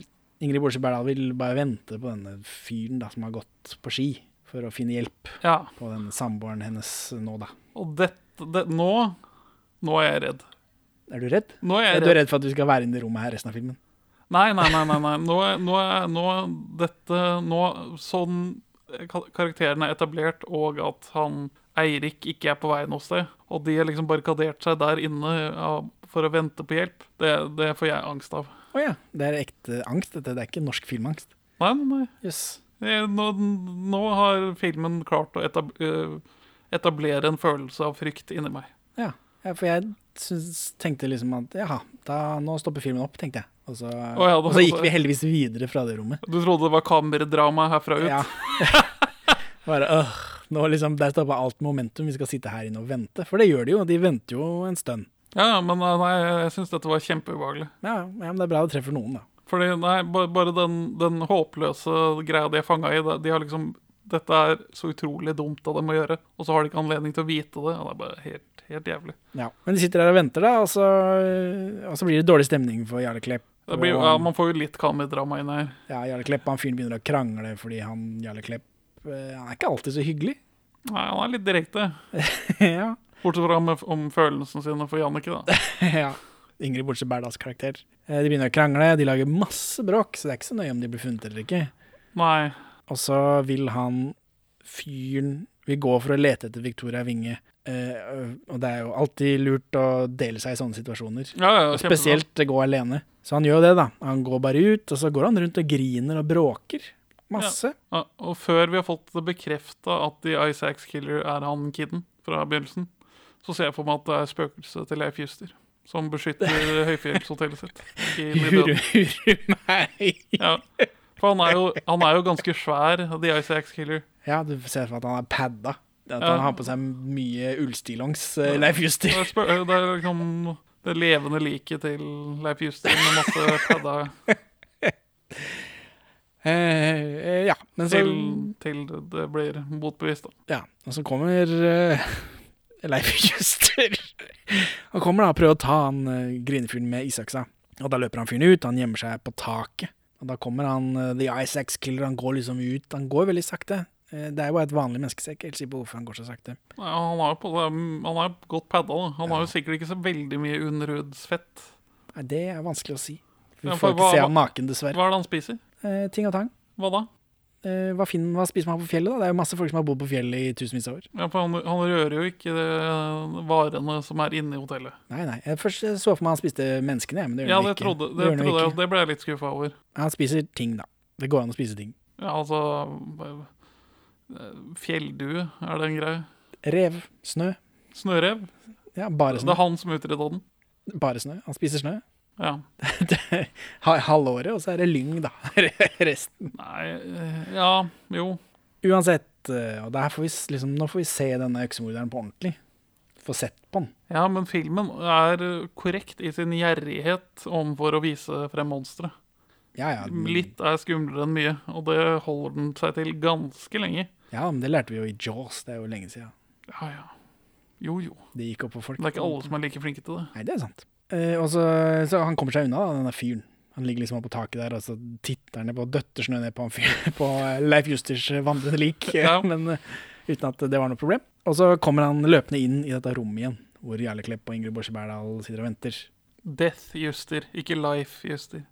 [SPEAKER 1] Ingrid Bolse Berdal vil bare vente på denne fyren da, som har gått på ski, for å finne hjelp
[SPEAKER 2] Ja.
[SPEAKER 1] på den samboeren hennes nå, da.
[SPEAKER 2] Og dette det, Nå Nå er jeg redd.
[SPEAKER 1] Er du redd?
[SPEAKER 2] Nå er jeg
[SPEAKER 1] Du er
[SPEAKER 2] redd.
[SPEAKER 1] redd for at du skal være inne i rommet her resten av filmen?
[SPEAKER 2] Nei, nei, nei. nei, nei. Nå, er- nå, er- nå er Dette Nå Sånn eh, ka- karakteren er etablert, og at han Eirik ikke er på vei noe sted, og de har liksom barrikadert seg der inne av- for å vente på hjelp, det, det får jeg angst av.
[SPEAKER 1] Å ja. Det er ekte angst, dette. Det er ikke norsk filmangst.
[SPEAKER 2] Nei, nei, nei.
[SPEAKER 1] Yes.
[SPEAKER 2] Eh, Nå, nå har filmen klart å etab eh, etablere en følelse av frykt inni meg.
[SPEAKER 1] Ja, ja for jeg syns- tenkte liksom at jaha, da, nå stopper filmen opp, tenkte jeg. Og så,
[SPEAKER 2] Å ja, da-
[SPEAKER 1] og så gikk vi heldigvis videre fra det rommet.
[SPEAKER 2] Du trodde det var kameradrama herfra ut?
[SPEAKER 1] Ja. Bare, øh, nå liksom, Der stoppa alt momentum, vi skal sitte her inne og vente. For det gjør de jo, de venter jo en stund.
[SPEAKER 2] Ja, ja, men eh, nei, jeg syns dette var kjempeubehagelig.
[SPEAKER 1] Ja, ja, men det er bra det treffer noen, da.
[SPEAKER 2] Fordi, nei, ba- bare den, den håpløse greia de er fanga i, det- de har liksom Dette er så utrolig dumt av dem å gjøre, og så har de ikke anledning til å vite det. Og det er bare helt, helt jævlig.
[SPEAKER 1] Ja. Men de sitter der og venter, da, og så, og så blir det dårlig stemning for Jarle Klepp.
[SPEAKER 2] Det blir,
[SPEAKER 1] og
[SPEAKER 2] ja,
[SPEAKER 1] han-
[SPEAKER 2] man får jo litt kamedrama inn her.
[SPEAKER 1] ja, Jarle Klepp han fyren begynner å krangle fordi han Jarle Klepp eh, Han er ikke alltid så hyggelig.
[SPEAKER 2] Nei, han er litt direkte.
[SPEAKER 1] ja.
[SPEAKER 2] Bortsett fra om, om følelsene sine for Jannicke, da.
[SPEAKER 1] ja. Ingrid Bortsett Berdals karakter. Eh, De begynner å krangle, de lager masse bråk, så det er ikke så nøye om de blir funnet eller ikke.
[SPEAKER 2] Nei.
[SPEAKER 1] Og så vil han fyren vil gå for å lete etter Victoria Winge. Eh, og det er jo alltid lurt å dele seg i sånne situasjoner.
[SPEAKER 2] Ja, ja,
[SPEAKER 1] Og
[SPEAKER 2] kjempebra.
[SPEAKER 1] spesielt gå alene. Så han gjør jo det, da. Han går bare ut, og så går han rundt og griner og bråker. Masse.
[SPEAKER 2] Ja. Ja, og før vi har fått det bekrefta at The Isaacs Killer er han kiden fra begynnelsen, så ser jeg for meg at det er spøkelset til Leif Juster som beskytter høyfjellshotellet sitt. i Nydalen.
[SPEAKER 1] Juru meg!
[SPEAKER 2] Ja. For han er, jo, han er jo ganske svær, The Isaacs Killer.
[SPEAKER 1] Ja, du ser for deg at han er padda. At
[SPEAKER 2] Ja.
[SPEAKER 1] han har på seg mye ullstillongs, eh, Leif
[SPEAKER 2] Det
[SPEAKER 1] Juster.
[SPEAKER 2] er, spø det er liksom det levende liket til Leif Juster med masse padda
[SPEAKER 1] Eh, eh, ja, men så
[SPEAKER 2] til, til det blir motbevist. da.
[SPEAKER 1] Ja, og så kommer eh, Leif Juster. Han kommer da og prøver å ta han eh, grinefyren med isaksa. Og da løper han fyren ut, han gjemmer seg på taket. Og da kommer han, eh, The Isaacs Killer, han går liksom ut. Han går veldig sakte. Eh, det er jo bare et vanlig menneske, så jeg er ikke helt sikker på hvorfor han går så sakte.
[SPEAKER 2] Nei, han har jo på seg- han har jo godt padda. da. Han har jo sikkert ikke så veldig mye unnrudsfett.
[SPEAKER 1] Nei, det er vanskelig å si. Vi
[SPEAKER 2] Ja,
[SPEAKER 1] får
[SPEAKER 2] for
[SPEAKER 1] ikke
[SPEAKER 2] hva-
[SPEAKER 1] se ham naken, dessverre.
[SPEAKER 2] Hva er det han spiser?
[SPEAKER 1] Eh, ting og tang.
[SPEAKER 2] Hva da?
[SPEAKER 1] Eh, hva, finner, hva spiser man på fjellet, da? Det er jo masse folk som har bodd på fjellet i tusenvis av år.
[SPEAKER 2] Ja, for han, han rører jo ikke eh, varene som er inne i hotellet.
[SPEAKER 1] Nei, nei. Jeg først eh, så for meg han spiste menneskene, jeg, men det gjør
[SPEAKER 2] Ja,
[SPEAKER 1] han
[SPEAKER 2] det
[SPEAKER 1] ikke.
[SPEAKER 2] trodde, det
[SPEAKER 1] Det gjør han jo
[SPEAKER 2] trodde jeg,
[SPEAKER 1] ikke.
[SPEAKER 2] og det ble jeg litt skuffa over.
[SPEAKER 1] Han spiser ting, da. Det går an å spise ting.
[SPEAKER 2] Ja, altså eh, Fjelldue, er det en greie?
[SPEAKER 1] Rev, snø.
[SPEAKER 2] Snørev?
[SPEAKER 1] Ja, bare
[SPEAKER 2] Det
[SPEAKER 1] snø.
[SPEAKER 2] er han som utreda den.
[SPEAKER 1] Bare snø. Han spiser snø.
[SPEAKER 2] Ja.
[SPEAKER 1] Ha- Halvåret, og så er det lyng, da. Resten.
[SPEAKER 2] Nei eh, Ja, jo.
[SPEAKER 1] Uansett, eh, og der får vi, s- liksom, nå får vi se denne øksemorderen på ordentlig. Få sett på den.
[SPEAKER 2] Ja, men filmen er eh, korrekt i sin gjerrighet overfor å vise frem monstre.
[SPEAKER 1] Ja, ja, den-
[SPEAKER 2] Litt er skumlere enn mye, og det holder den seg til ganske lenge.
[SPEAKER 1] Ja, men det lærte vi jo i Jaws, det er jo lenge siden.
[SPEAKER 2] Ja, ja. Jo, jo.
[SPEAKER 1] Det gikk opp for folk.
[SPEAKER 2] Det er ikke alle som er like flinke til det.
[SPEAKER 1] Nei, det er sant. Eh, og så, så han kommer seg unna, da, denne fyren. Han ligger liksom oppå taket der, og så titter han ned på og døtter snø ned på, han fyren- på eh, Leif Justers eh, vandrende lik.
[SPEAKER 2] Ja.
[SPEAKER 1] Men eh, uten at det var noe problem. Og så kommer han løpende inn i dette rommet igjen, hvor Jarle Klepp og Ingrid Borse Berdal sitter og venter.
[SPEAKER 2] Death Juster, ikke Life Juster.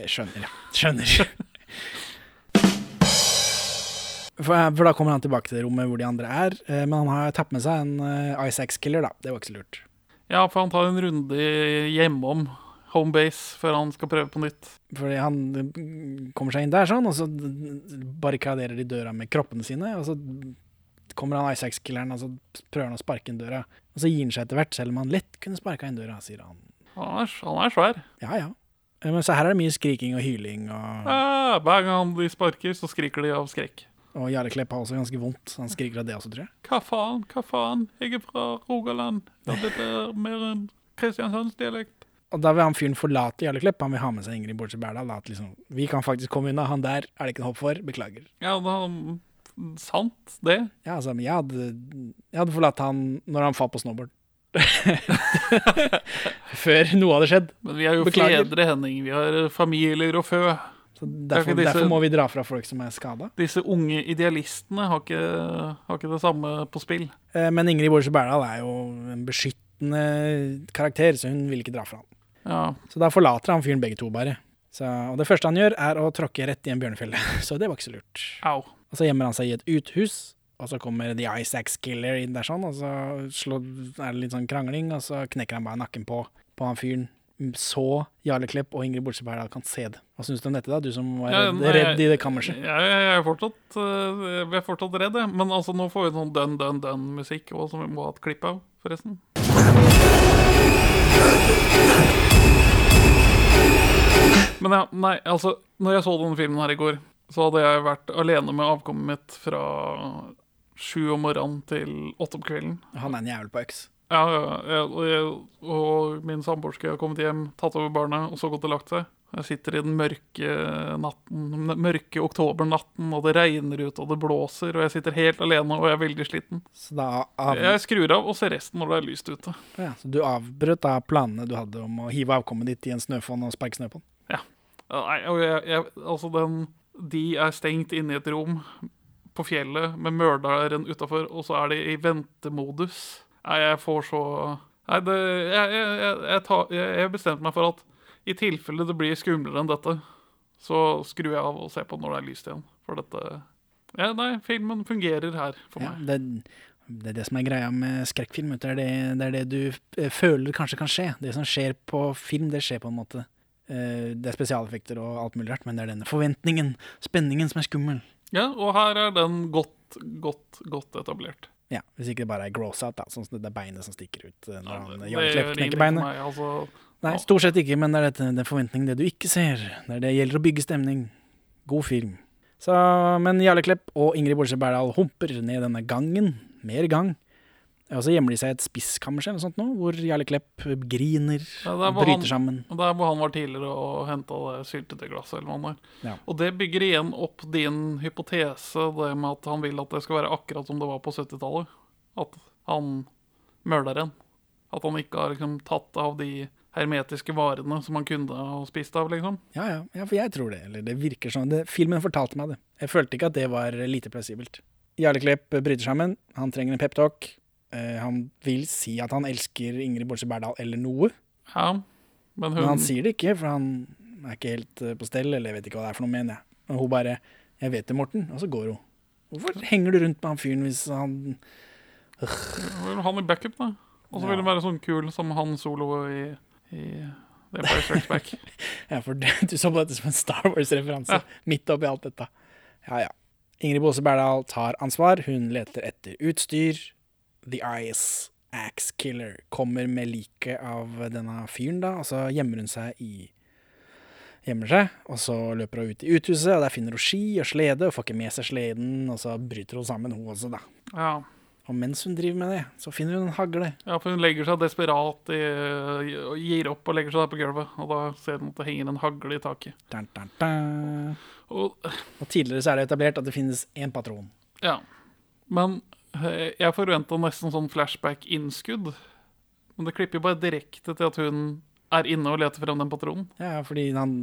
[SPEAKER 1] Jeg skjønner, ja. Skjønner. For, eh, for da kommer han tilbake til det rommet hvor de andre er, eh, men han har tatt med seg en eh, Isaacs-killer, da. Det var ikke så lurt.
[SPEAKER 2] Ja, for han tar en runde hjemom home base før han skal prøve på nytt.
[SPEAKER 1] Fordi han mm, kommer seg inn der sånn, og så barrikaderer de døra med kroppene sine. Og så kommer han Isaacs-killeren, og så prøver han å sparke inn døra. Og så gir han seg etter hvert, selv om han lett kunne sparka inn døra, sier han.
[SPEAKER 2] Han er, han er svær.
[SPEAKER 1] Ja, ja. Eh, Men så her er det mye skriking og hyling, og,
[SPEAKER 2] Ja, Eh, hver gang de sparker, så skriker de av skrekk.
[SPEAKER 1] og Jarle Klepp har også ganske vondt. så Han skriker av det også, tror jeg.
[SPEAKER 2] Hva faen, hva faen, jeg er fra Rogaland. Ja, dette er mer enn Kristiansandsdialekt.
[SPEAKER 1] Og da vil han fyren forlate Jarle Klepp, han vil ha med seg Ingrid Bortsett Berdal. da, At liksom, vi kan faktisk komme unna, han der er det ikke noe håp for, beklager.
[SPEAKER 2] Ja, da, sant det.
[SPEAKER 1] Ja, altså, men jeg hadde, jeg hadde forlatt han når han falt på snowboard. Før noe hadde skjedd.
[SPEAKER 2] Men vi er jo
[SPEAKER 1] Beklager.
[SPEAKER 2] fedre, Henning. Vi har familier og fø.
[SPEAKER 1] Så derfor,
[SPEAKER 2] disse-
[SPEAKER 1] derfor må vi dra fra folk som er skada.
[SPEAKER 2] Disse unge idealistene har ikke, har ikke det samme på spill.
[SPEAKER 1] Eh, Men Ingrid Borgersen Berdal er jo en beskyttende karakter, så hun vil ikke dra fra han.
[SPEAKER 2] Ja,
[SPEAKER 1] Så da forlater han fyren begge to, bare. Så, og det første han gjør, er å tråkke rett i en bjørnefelle. Så det var ikke så lurt.
[SPEAKER 2] au.
[SPEAKER 1] Og så gjemmer han seg i et uthus, og så kommer The Isaacs Killer inn der sånn, og så slår, er det litt sånn krangling, og så knekker han bare nakken på, på han fyren. Så Jarle Klepp og Ingrid Bortsett Berdal kan se det. Hva syns du om dette, da? Du som var
[SPEAKER 2] Ja,
[SPEAKER 1] redd,
[SPEAKER 2] nei,
[SPEAKER 1] redd i det
[SPEAKER 2] Jeg,
[SPEAKER 1] kammerset.
[SPEAKER 2] jeg, er fortsatt, eh, jeg er fortsatt redd, jeg. Men altså, nå får vi sånn dønn, dønn, dønn-musikk også, som vi må ha et klipp av, forresten. Men ja, nei, altså, når jeg så denne filmen her i går, så hadde jeg vært alene med avkommet mitt fra sju om morgenen til åtte om kvelden.
[SPEAKER 1] Han er en jævel på øks.
[SPEAKER 2] Ja, ja, ja. Jeg, og, jeg, og min samboer skulle ha kommet hjem, tatt over barna og så gått og lagt seg. Jeg sitter i den mørke, natten, den mørke oktobernatten, og det regner ut, og det blåser, og jeg sitter helt alene, og jeg er veldig sliten.
[SPEAKER 1] Så da av-
[SPEAKER 2] Jeg skrur av og ser resten når det er lyst ute.
[SPEAKER 1] Ja, så du avbrøt da planene du hadde om å hive avkommet ditt i en snøfonn og sparke snø på den?
[SPEAKER 2] Nei, og jeg, jeg, altså den, de er stengt inne i et rom på fjellet med mørderen utafor, og så er de i ventemodus. Nei, jeg får så Nei, det, jeg, jeg, jeg, jeg, tar- jeg, jeg bestemte meg for at i tilfelle det blir skumlere enn dette, så skrur jeg av og ser på når det er lyst igjen. For dette ja, Nei, filmen fungerer her for
[SPEAKER 1] Ja,
[SPEAKER 2] meg.
[SPEAKER 1] det, det er det som er greia med skrekkfilm. vet du. Det er det, det er det du eh, føler kanskje kan skje. Det som skjer på film, det skjer på en måte. Eh, Det er spesialeffekter og alt mulig rart, men det er denne forventningen, spenningen, som er skummel.
[SPEAKER 2] Ja, og her er den godt, godt, godt etablert.
[SPEAKER 1] Ja, Hvis ikke det bare er gross out, da, sånn som det er beinet som stikker ut. eh, Når han, eh, Johnny
[SPEAKER 2] Det
[SPEAKER 1] Klepp
[SPEAKER 2] gjør
[SPEAKER 1] knekker
[SPEAKER 2] ingenting for
[SPEAKER 1] beinet.
[SPEAKER 2] meg, altså.
[SPEAKER 1] Nei, stort sett ikke, men det er dette, den forventningen, det du ikke ser. Det er det gjelder å bygge stemning. God film. Så, men Jarle Klepp og Ingrid Bolsje Berdal humper ned denne gangen. Mer gang. Og så gjemmer de seg i et spisskammers eller noe sånt nå, hvor Jarle Klepp griner,
[SPEAKER 2] Ja, det er
[SPEAKER 1] og
[SPEAKER 2] hvor
[SPEAKER 1] bryter sammen.
[SPEAKER 2] Han, det er hvor han var tidligere og henta det syltede glasset. eller hva det var.
[SPEAKER 1] Ja.
[SPEAKER 2] Og det bygger igjen opp din hypotese, det med at han vil at det skal være akkurat som det var på 70-tallet. At han mørderen. At han ikke har liksom, tatt av de hermetiske varene som han kunne ha spist av. liksom.
[SPEAKER 1] Ja, ja, ja, for jeg tror det. Eller det virker sånn. Det, filmen fortalte meg det. Jeg følte ikke at det var lite plausibelt. Jarle Klepp bryter sammen. Han trenger en peptalk. Eh, han vil si at han elsker Ingrid Bolsje Berdal eller noe.
[SPEAKER 2] Ja, men hun...
[SPEAKER 1] Men han sier det ikke, for han er ikke helt eh, på stell, eller jeg vet ikke hva det er for noe, mener jeg. Og hun bare 'Jeg vet det, Morten', og så går hun. Hvorfor henger du rundt med han fyren hvis han
[SPEAKER 2] Vel, Han i backup, da. Og så vil det være sånn kul som han solo i, i The Empire Strikes Back.
[SPEAKER 1] Ja, for du, du så på dette som en Star Wars-referanse midt oppi alt dette. Ja, ja. Ingrid Bose Berdal tar ansvar. Hun leter etter utstyr. The Eyes Axe Killer kommer med liket av denne fyren, da, og så gjemmer hun seg i Gjemmer seg, og så løper hun ut i uthuset, og der finner hun ski og slede, og får ikke med seg sleden, og så bryter hun sammen, hun også, da.
[SPEAKER 2] Ja.
[SPEAKER 1] Og mens hun driver med det, så finner hun en hagle.
[SPEAKER 2] Ja, for hun legger seg desperat i, og gir opp og legger seg der på gulvet. Og da ser hun at det henger en hagle i taket.
[SPEAKER 1] Dun, dun, dun.
[SPEAKER 2] Og,
[SPEAKER 1] Og tidligere så er det etablert at det finnes én patron.
[SPEAKER 2] ja. Men eh, jeg forventa nesten sånn flashback-innskudd. Men det klipper jo bare direkte til at hun er inne og leter frem den patronen.
[SPEAKER 1] Ja, fordi han,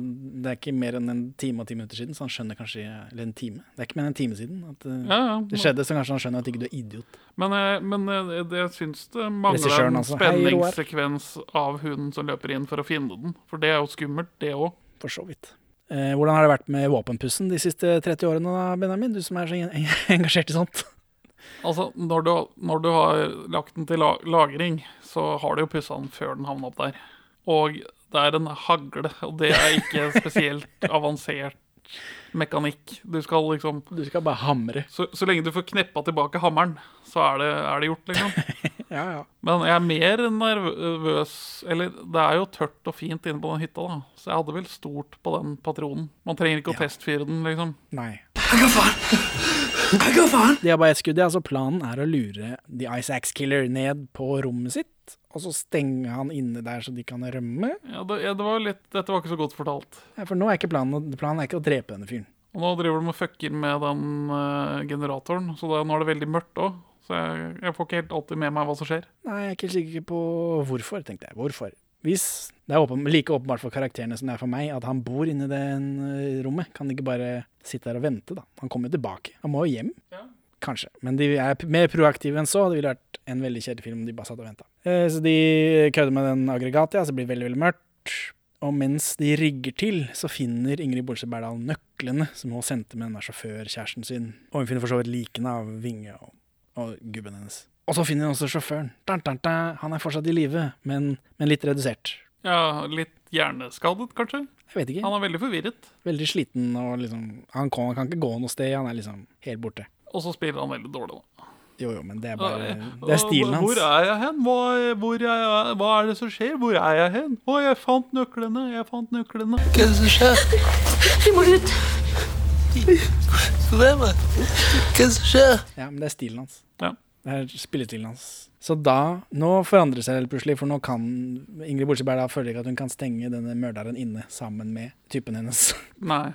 [SPEAKER 1] det er ikke mer enn en time og ti minutter siden, så han skjønner kanskje Eller en time. Det er ikke mer enn en time siden at eh,
[SPEAKER 2] Ja, ja.
[SPEAKER 1] det skjedde, så kanskje han skjønner at ikke du er idiot.
[SPEAKER 2] Men, eh, men eh, det, jeg syns det mangler
[SPEAKER 1] Regissøren,
[SPEAKER 2] en
[SPEAKER 1] altså. Hei, Roar.
[SPEAKER 2] spenningssekvens av hun som løper inn for å finne den. For det er jo skummelt, det òg.
[SPEAKER 1] For så vidt. Eh, hvordan har det vært med våpenpussen de siste 30 årene, da, Benjamin? Du som er så en- engasjert i sånt.
[SPEAKER 2] Altså, når du, når du har lagt den til la- lagring, så har du jo pussa den før den havna opp der. Og det er en hagle, og det er ikke spesielt avansert mekanikk. Du skal liksom
[SPEAKER 1] Du skal bare hamre.
[SPEAKER 2] Så, så lenge du får kneppa tilbake hammeren, så er det, er det gjort, liksom.
[SPEAKER 1] ja, ja.
[SPEAKER 2] Men jeg er mer nervøs Eller det er jo tørt og fint inne på den hytta, da. Så jeg hadde vel stort på den patronen. Man trenger ikke å testfyre den, liksom.
[SPEAKER 1] Nei. De har bare ett skudd, ja. Så planen er å lure The Ice Axe Killer ned på rommet sitt, og så stenge han inne der så de kan rømme.
[SPEAKER 2] Ja, det, ja, det var litt, dette var ikke så godt fortalt.
[SPEAKER 1] Ja, for nå er ikke planen, å- planen er ikke å drepe denne fyren.
[SPEAKER 2] Og nå driver de og fucker med den eh, generatoren, så det, nå er det veldig mørkt òg. Så jeg, jeg får ikke helt alltid med meg hva som skjer.
[SPEAKER 1] Nei, jeg er ikke helt sikker på hvorfor, tenkte jeg. Hvorfor? Hvis Det er åpen, like åpenbart for karakterene som det er for meg, at han bor inni det eh, rommet. Kan ikke bare sitte der og vente, da. Han kommer jo tilbake. Han må jo hjem. Kanskje. Men de er p- mer proaktive enn så. Det ville vært en veldig kjedelig film om de bare satt og venta. Eh, så de kødder med den aggregatet, ja, så det blir veldig, veldig mørkt. Og mens de rigger til, så finner Ingrid Bolsje Berdal nøklene som hun sendte med denne sjåførkjæresten sin. Og hun finner for så vidt likene av Vinge og, og gubben hennes. Og så finner hun også sjåføren. Dun, dun, dun. Han er fortsatt i live, men, men litt redusert.
[SPEAKER 2] Ja, Litt hjerneskadet, kanskje?
[SPEAKER 1] Jeg vet ikke.
[SPEAKER 2] Han er veldig forvirret.
[SPEAKER 1] Veldig sliten og liksom Han kan, han kan ikke gå noe sted, han er liksom helt borte.
[SPEAKER 2] Og så spiller han veldig dårlig, da.
[SPEAKER 1] Jo, jo, men det er bare
[SPEAKER 2] Ja,
[SPEAKER 1] Det er stilen hans.
[SPEAKER 2] Hvor er jeg hen? Hva, hvor er jeg, hva er det som skjer? Hvor er jeg hen? Å, jeg fant nøklene! Jeg fant nøklene.
[SPEAKER 6] Hva er det som skjer?
[SPEAKER 2] Vi må ut!
[SPEAKER 6] Problemet? Hva er det som skjer?
[SPEAKER 1] Ja, men det er stilen hans.
[SPEAKER 2] Ja.
[SPEAKER 1] Det er spillestilen hans. Så da Nå forandrer det seg helt plutselig, for nå kan Ingrid Bolseberg da føler ikke at hun kan stenge denne mørderen inne sammen med typen hennes.
[SPEAKER 2] Nei.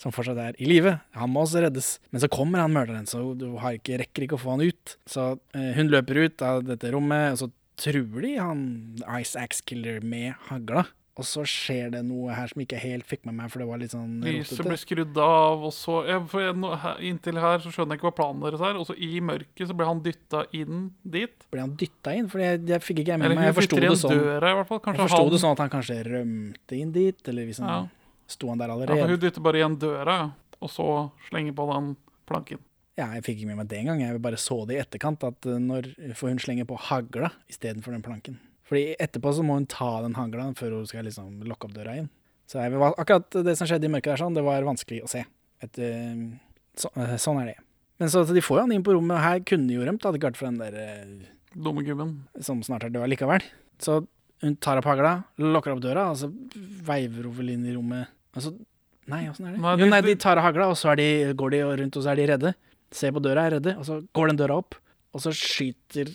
[SPEAKER 1] Som fortsatt er i live. Han må også reddes. Men så kommer han mørderen, så du har ikke, rekker ikke å få han ut. Så eh, hun løper ut av dette rommet, og så truer de han Ice Axe Killer med hagla. Og så skjer det noe her som ikke jeg helt fikk med meg, for det var litt sånn
[SPEAKER 2] Lyset
[SPEAKER 1] rotete.
[SPEAKER 2] blir skrudd av, og så jeg, for jeg, nå- her- Inntil her så skjønner jeg ikke hva planen deres er. Og så i mørket så ble han dytta inn dit.
[SPEAKER 1] Ble han dytta inn? For jeg, jeg fikk ikke jeg med
[SPEAKER 2] Eller
[SPEAKER 1] meg. Jeg
[SPEAKER 2] hun
[SPEAKER 1] forsto
[SPEAKER 2] dytter
[SPEAKER 1] det
[SPEAKER 2] igjen
[SPEAKER 1] sånn.
[SPEAKER 2] døra, i hvert fall. Kanskje
[SPEAKER 1] jeg forsto
[SPEAKER 2] han-
[SPEAKER 1] det sånn at han kanskje rømte inn dit, eller hvis han
[SPEAKER 2] Ja.
[SPEAKER 1] sto han der
[SPEAKER 2] Ja, for
[SPEAKER 1] allerede.
[SPEAKER 2] hun dytter bare igjen døra, og så slenger på den planken.
[SPEAKER 1] Ja, jeg fikk ikke med meg det engang. Jeg bare så det i etterkant, at eh, når, for hun slenger på hagla istedenfor den planken. Fordi etterpå så må hun ta den hagla før hun skal liksom lokke opp døra igjen. Så jeg, var- akkurat det som skjedde i mørket der, sånn, det var vanskelig å se. Et, eh, så, eh, sånn er det. Men så, så de får jo han inn på rommet, og her kunne de jo rømt, hadde det ikke vært for den der eh,
[SPEAKER 2] Dumme gubben.
[SPEAKER 1] som snart er død likevel. Så hun tar opp hagla, lukker opp døra, og så veiver hun vel inn i rommet. Og så, nei, åssen er det?
[SPEAKER 2] Nei,
[SPEAKER 1] jo, nei, de tar av hagla, og så er de, går de rundt, og så er de redde. Ser på døra, er redde, og så går den døra opp. Og så skyter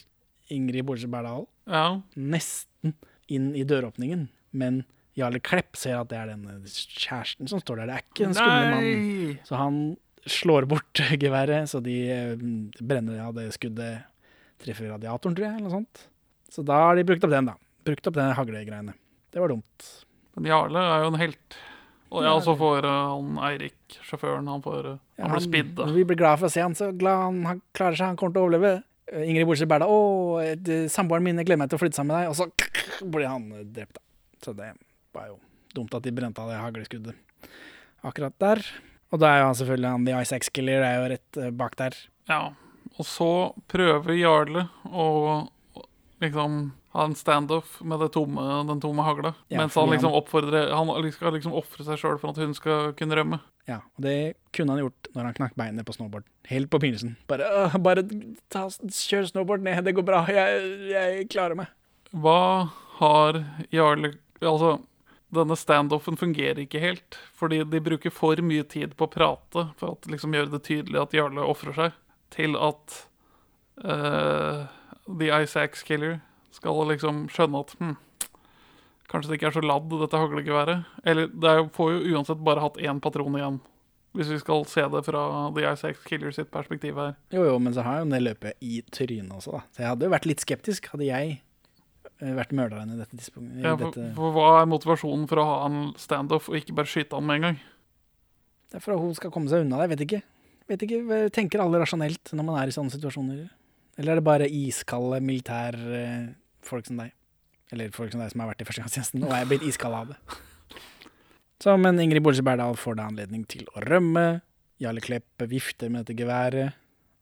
[SPEAKER 1] Ingrid Bolsje Berdal
[SPEAKER 2] Ja.
[SPEAKER 1] nesten inn i døråpningen. Men Jarle Klepp ser at det er denne kjæresten som står der. Det er ikke den skumle mannen.
[SPEAKER 2] Nei!
[SPEAKER 1] Så han slår bort geværet, så de eh, brenner av det skuddet. Treffer radiatoren, tror jeg, eller noe sånt. Så da har de brukt opp den, da. Brukt opp den haglegreiene. Det var dumt.
[SPEAKER 2] Men Jarle er jo en helt. Og ja,
[SPEAKER 1] Ja,
[SPEAKER 2] så får eh, han Eirik, sjåføren, han, får, eh,
[SPEAKER 1] Ja,
[SPEAKER 2] han blir spidd. da.
[SPEAKER 1] Vi blir glad for å se han, så glad han, han klarer seg, han kommer til å overleve. Eh, Ingrid Bolsje Berdal 'Å, eh, samboeren min, jeg gleder meg til å flytte sammen med deg.' Og så blir han eh, drept, da. Så det var jo dumt at de brente av det hagleskuddet akkurat der. Og da er jo han selvfølgelig han The Ice Axe Killer, er jo rett eh, bak der.
[SPEAKER 2] Ja. Og så prøver Jarle å liksom ha en standoff med det tomme, den tomme hagla.
[SPEAKER 1] Ja,
[SPEAKER 2] mens han
[SPEAKER 1] fordi
[SPEAKER 2] liksom
[SPEAKER 1] han-
[SPEAKER 2] oppfordrer Han skal liksom ofre seg sjøl for at hun skal kunne rømme.
[SPEAKER 1] Ja, og det kunne han gjort når han knakk beinet på snowboard. Helt på begynnelsen. Bare, «Åh, bare ta, kjør snowboard ned, det går bra, jeg, jeg klarer meg.
[SPEAKER 2] Hva har Jarle Altså, denne standoffen fungerer ikke helt. Fordi de bruker for mye tid på å prate for å liksom gjøre det tydelig at Jarle ofrer seg, til at eh, The Ice Axe Killer skal liksom skjønne at hm, kanskje det ikke er så ladd, dette haglegeværet. Eller det er jo, får jo uansett bare hatt én patron igjen. Hvis vi skal se det fra The Ice Axe Killer sitt perspektiv her.
[SPEAKER 1] Jo, jo, men så har jo det løpet i trynet også, da. Så jeg hadde jo vært litt skeptisk, hadde jeg eh, vært mørderen i dette tidspunktet. i
[SPEAKER 2] Ja, for,
[SPEAKER 1] dette-
[SPEAKER 2] for hva er motivasjonen for å ha en standoff og ikke bare skyte han med en gang?
[SPEAKER 1] Det er for at hun skal komme seg unna det, jeg vet ikke. Vet ikke, hva- Tenker alle rasjonelt når man er i sånne situasjoner? Eller er det bare iskalde militærfolk som deg? Eller folk som deg som har vært i førstegangstjenesten og er blitt iskalde av det. Så, men Ingrid Bolsje Berdal får da anledning til å rømme. Jarle Klepp vifter med dette geværet.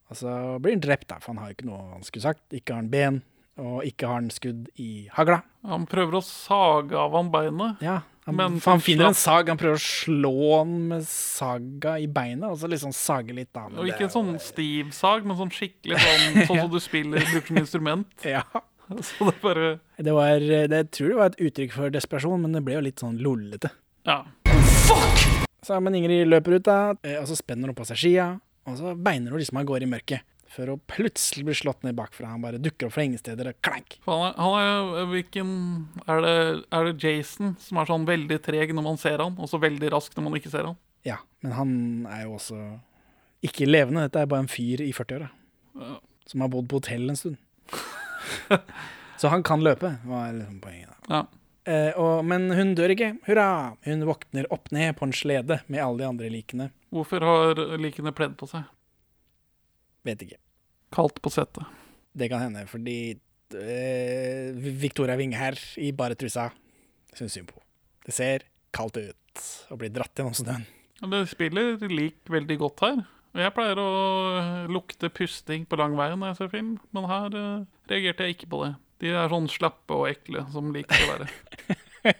[SPEAKER 1] Og så blir han drept, da, for han har jo ikke noe han skulle sagt. Ikke har han ben, og ikke har han skudd i hagla.
[SPEAKER 2] Han prøver å sage av han beinet.
[SPEAKER 1] Ja, Han,
[SPEAKER 2] men
[SPEAKER 1] for han finner en sag, han prøver å slå han med saga i beinet, og så liksom sage litt, da. men
[SPEAKER 2] Og
[SPEAKER 1] det
[SPEAKER 2] ikke en sånn stiv sag, men sånn skikkelig sånn, sånn som du spiller, bruker som instrument.
[SPEAKER 1] Ja.
[SPEAKER 2] Så det er bare
[SPEAKER 1] Det var, det, jeg tror det var et uttrykk for desperasjon, men det ble jo litt sånn lollete.
[SPEAKER 2] Ja.
[SPEAKER 1] Så, men Ingrid løper ut, da, eh, og så spenner hun på seg skia, og så beiner hun liksom av gårde i mørket. Før hun plutselig blir slått ned bakfra. Han bare dukker opp fra ingen steder og klank.
[SPEAKER 2] For han er, han er hvilken er det, er det Jason som er sånn veldig treg når man ser han, og så veldig rask når man ikke ser han?
[SPEAKER 1] Ja, men han er jo også ikke levende. Dette er bare en fyr i 40-åra
[SPEAKER 2] Ja.
[SPEAKER 1] som har bodd på hotell en stund. så han kan løpe, var liksom poenget. da.
[SPEAKER 2] Ja.
[SPEAKER 1] Eh, og, men hun dør ikke. Hurra! Hun våkner opp ned på en slede med alle de andre likene.
[SPEAKER 2] Hvorfor har likene pledd på seg?
[SPEAKER 1] Vet ikke.
[SPEAKER 2] Kaldt på settet.
[SPEAKER 1] Det kan hende, fordi eh, Victoria Winge her, i bare trusa, syns synd på henne. Det ser kaldt ut å bli dratt gjennom snøen.
[SPEAKER 2] Men Det spiller lik veldig godt her. Og jeg pleier å lukte pusting på lang vei når jeg ser film, men her eh, reagerte jeg ikke på det. De er sånn slappe og ekle som liker å være.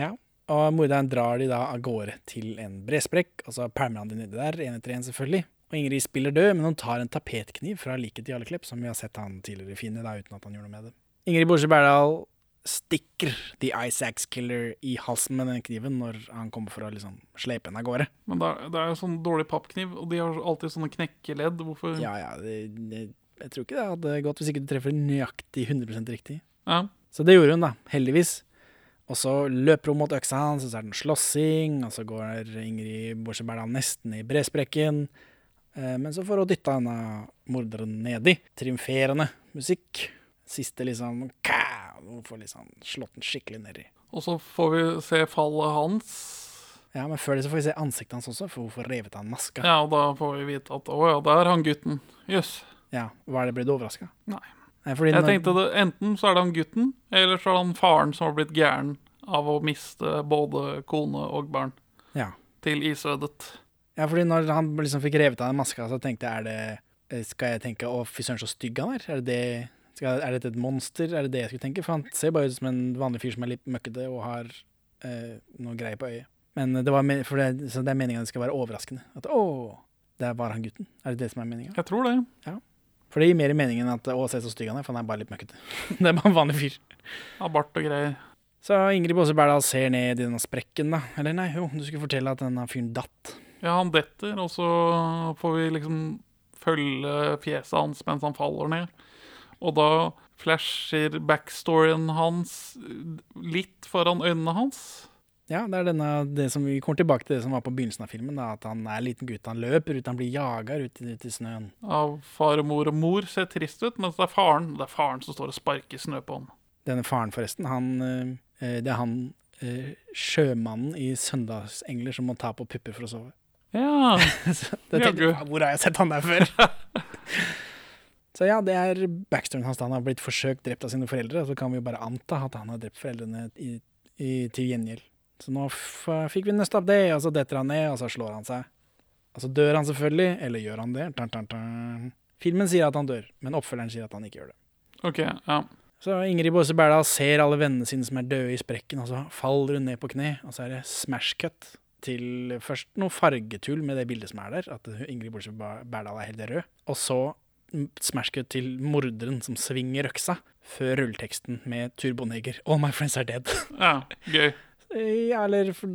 [SPEAKER 1] Ja. Og morderen drar de da av gårde til en bresprekk, og så pælmer han de nedi der, én etter én, selvfølgelig. Og Ingrid spiller død, men hun tar en tapetkniv fra liket til Jarle Klepp, som vi har sett han tidligere finne, da, uten at han gjorde noe med det. Ingrid Borse Berdal stikker The Ice Axe Killer i halsen med den kniven når han kommer for å liksom slepe henne av gårde.
[SPEAKER 2] Men det er, det er jo sånn dårlig pappkniv, og de har alltid sånne knekkeledd. Hvorfor
[SPEAKER 1] Ja, ja, det, det Jeg tror ikke det hadde gått hvis ikke du treffer nøyaktig 100 riktig.
[SPEAKER 2] Ja.
[SPEAKER 1] Så det gjorde hun, da. Heldigvis. Og så løper hun mot øksa hans, og så er det en slåssing, og så går Ingrid Borse Berdal nesten i bresprekken. Eh, Men så får hun dytta denne morderen nedi. Triumferende musikk. Siste liksom ka, Hun får liksom slått den skikkelig nedi.
[SPEAKER 2] Og så får vi se fallet hans.
[SPEAKER 1] Ja, Men før det så får vi se ansiktet hans også, for hun får revet av maska.
[SPEAKER 2] Ja, og da får vi vite at å ja, der er han gutten. Jøss.
[SPEAKER 1] Ja, Var det ble du overraska?
[SPEAKER 2] Nei.
[SPEAKER 1] fordi
[SPEAKER 2] Jeg
[SPEAKER 1] når-
[SPEAKER 2] tenkte det, enten så er det han gutten, eller så er det han faren som har blitt gæren av å miste både kone og barn
[SPEAKER 1] Ja.
[SPEAKER 2] til isødet.
[SPEAKER 1] Ja, fordi når han liksom fikk revet av den maska, så tenkte jeg er det, eh, Skal jeg tenke å fy søren, så stygg han er? Er, det det, skal, er dette et monster? Er det det jeg skulle tenke? For han ser bare ut som en vanlig fyr som er litt møkkete og har eh, noe greier på øyet. Men det, var, me- for det, så det er meninga det skal være overraskende. At å, der var han gutten. Er det det som er meninga?
[SPEAKER 2] Jeg tror det.
[SPEAKER 1] Ja. For det gir mer mening enn at å, se så stygg han er, for han er bare litt møkkete. det er bare en vanlig fyr.
[SPEAKER 2] Av bart og greier.
[SPEAKER 1] Så Ingrid Baase Berdal ser ned i denne sprekken, da. Eller nei, jo, du skulle fortelle at denne fyren datt.
[SPEAKER 2] Ja, han detter, og så får vi liksom følge fjeset hans mens han faller ned. Og da flasher backstoryen hans litt foran øynene hans.
[SPEAKER 1] Ja, det er denne, det som vi kommer tilbake til det som var på begynnelsen av filmen. Da, at han er liten gutt, han løper ut, han blir jaga ut, i- ut i snøen.
[SPEAKER 2] Av far og mor, og mor ser trist ut, mens det er faren Det er faren som står og sparker snø på ham.
[SPEAKER 1] Denne faren, forresten, han, eh, det er han eh, sjømannen i 'Søndagsengler' som må ta på pupper for å sove.
[SPEAKER 2] Ja.
[SPEAKER 1] Så det tenkte jeg, Hvor har jeg sett han der før? Så ja, det er backstoren hans. da. Han har blitt forsøkt drept av sine foreldre. Så kan vi jo bare anta at han har drept foreldrene i, i, til gjengjeld. Så nå f fikk vi nøsta opp det, og så detter han ned, og så slår han seg. Og så dør han selvfølgelig, eller gjør han det? Tan, tan, tan. Filmen sier at han dør, men oppfølgeren sier at han ikke gjør det.
[SPEAKER 2] OK, ja.
[SPEAKER 1] Så Ingrid Baase Berdal ser alle vennene sine som er døde i sprekken, og så faller hun ned på kne, og så er det smash cut til først noe fargetull med det bildet som er der, at Ingrid Baase Ba- Berdal er helt rød, og så mm, smash cut til morderen som svinger øksa, før rulleteksten med Turboneger 'All my friends are dead'.
[SPEAKER 2] ja gøy.
[SPEAKER 1] Ja, eller for,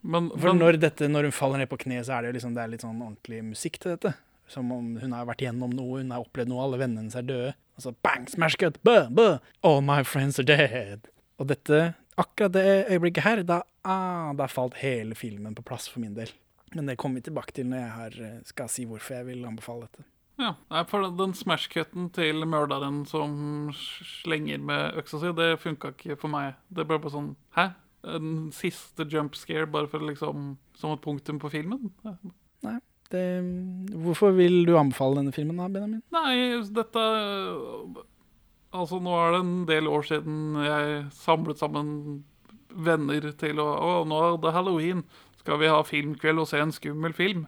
[SPEAKER 1] for
[SPEAKER 2] men-
[SPEAKER 1] når, dette, når hun faller ned på kne, så er det jo liksom, det er litt sånn ordentlig musikk til dette. Som om hun har vært gjennom noe, hun har opplevd noe, alle vennene hennes er døde. Og så bang, smash cut, bø, bø, all my friends are dead. Og dette, akkurat det øyeblikket her, da, ah, da falt hele filmen på plass for min del. Men det kommer vi tilbake til når jeg har, eh, skal si hvorfor jeg vil anbefale dette.
[SPEAKER 2] Ja, nei, for den- den smashcutten til mørderen som s- slenger med øksa si, det funka ikke for meg. Det ble bare sånn Hæ? En siste jump scare bare for liksom som et punktum på filmen?
[SPEAKER 1] Nei, det, hvorfor vil du anbefale denne filmen da, Benjamin?
[SPEAKER 2] Nei, dette Altså, nå er det en del år siden jeg samlet sammen venner til å Å, nå er det halloween. Skal vi ha filmkveld og se en skummel film?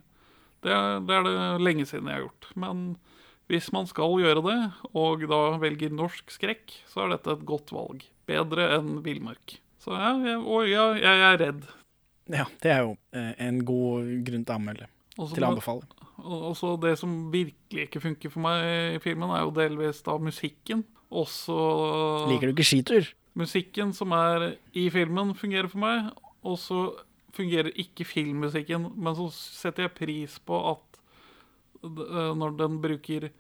[SPEAKER 2] Det, er- det er det lenge siden jeg har gjort. Men hvis man skal gjøre det, og da velger norsk skrekk, så er dette et godt valg. Bedre enn villmark. Så ja, jeg, å, ja, jeg er redd.
[SPEAKER 1] Ja, det er jo eh, en god grunn til å anmelde,
[SPEAKER 2] Og så
[SPEAKER 1] til å
[SPEAKER 2] må-
[SPEAKER 1] anbefale.
[SPEAKER 2] Og også det som virkelig ikke funker for meg i filmen, er jo delvis da musikken. Også
[SPEAKER 1] Liker du ikke skitur?
[SPEAKER 2] Musikken som er i filmen, fungerer for meg. Og så fungerer ikke filmmusikken, men så setter jeg pris på at d- eh, når den bruker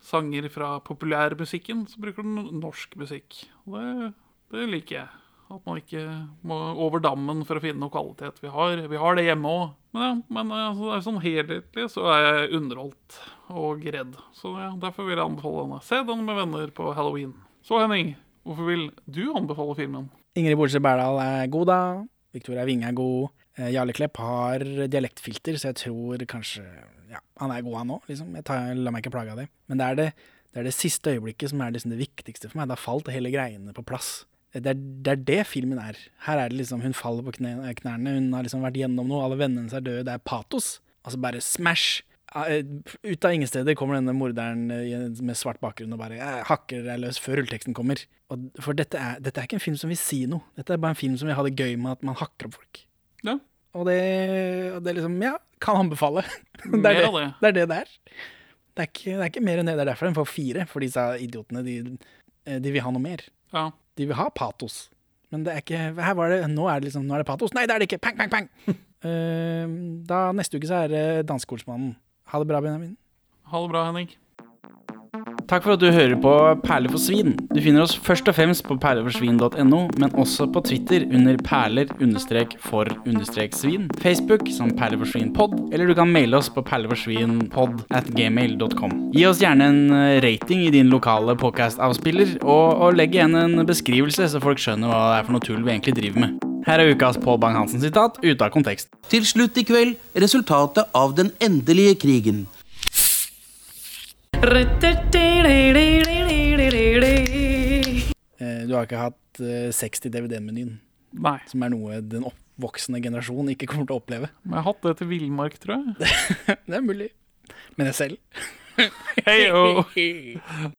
[SPEAKER 2] sanger fra populærmusikken, så bruker den norsk musikk. Og Det, det liker jeg. At man ikke må over dammen for å finne noe kvalitet. Vi har, vi har det hjemme òg. Men, ja, men eh, altså, det er sånn helhetlig så er jeg underholdt og redd. Så ja, Derfor vil jeg anbefale denne. Se den med venner på halloween. Så Henning, hvorfor vil du anbefale filmen?
[SPEAKER 1] Ingrid Bolse Berdal er god, da. Victoria Winge er god. Eh, Jarle Klepp har dialektfilter, så jeg tror kanskje Ja, han er god, han òg, liksom. Jeg tar, lar meg ikke plage av det. Men det er det, det er det siste øyeblikket som er liksom det viktigste for meg. Da falt hele greiene på plass. Eh, Det er, det er det filmen er. Her er det liksom Hun faller på kne, knærne, hun har liksom vært gjennom noe, alle vennene hennes er døde, det er patos. Altså bare smash! Ja, eh, Ut av ingen steder kommer denne morderen eh, i- med svart bakgrunn og bare eh, hakker deg løs før rulleteksten kommer. Og, d- for dette er, dette er ikke en film som vil si noe. Dette er bare en film som vil ha det gøy med at man hakker opp folk.
[SPEAKER 2] Ja.
[SPEAKER 1] Og det, og det er liksom Ja, kan anbefale. Det
[SPEAKER 2] Mer
[SPEAKER 1] er
[SPEAKER 2] av
[SPEAKER 1] det
[SPEAKER 2] det.
[SPEAKER 1] det er. Det det er. Det er, ikke, det er ikke mer enn det. Det er derfor den får fire. For disse idiotene, de, eh, de vil ha noe mer.
[SPEAKER 2] Ja.
[SPEAKER 1] De vil ha patos. Men det er ikke Her var det Nå er det liksom Nå er det patos. Nei, det er det ikke! Pang, pang, pang! Eh, da neste uke så er det Dansekolsmannen. Ha det bra, Benjamin.
[SPEAKER 2] Ha det bra, Henning.
[SPEAKER 1] Takk for at du hører på Perler for svin. Du finner oss først og fremst på perleforsvin.no, men også på Twitter under perler-for-svin, Facebook som perleforsvinpod, eller du kan maile oss på perleforsvinpod at gmail.com. Gi oss gjerne en eh, rating i din lokale podcast-avspiller, og, og legg igjen en beskrivelse, så folk skjønner hva det er for noe tull vi egentlig driver med. Her er ukas Pål Bang-Hansen-sitat ute av kontekst.
[SPEAKER 13] Til slutt i kveld resultatet av den endelige krigen.
[SPEAKER 1] Eh, Du har ikke hatt eh, sex til DVD-menyen. Som er noe den oppvoksende generasjon ikke kommer til å oppleve.
[SPEAKER 2] Men jeg har hatt det til villmark, tror jeg.
[SPEAKER 1] det er mulig. Men jeg selv.
[SPEAKER 2] Heyo.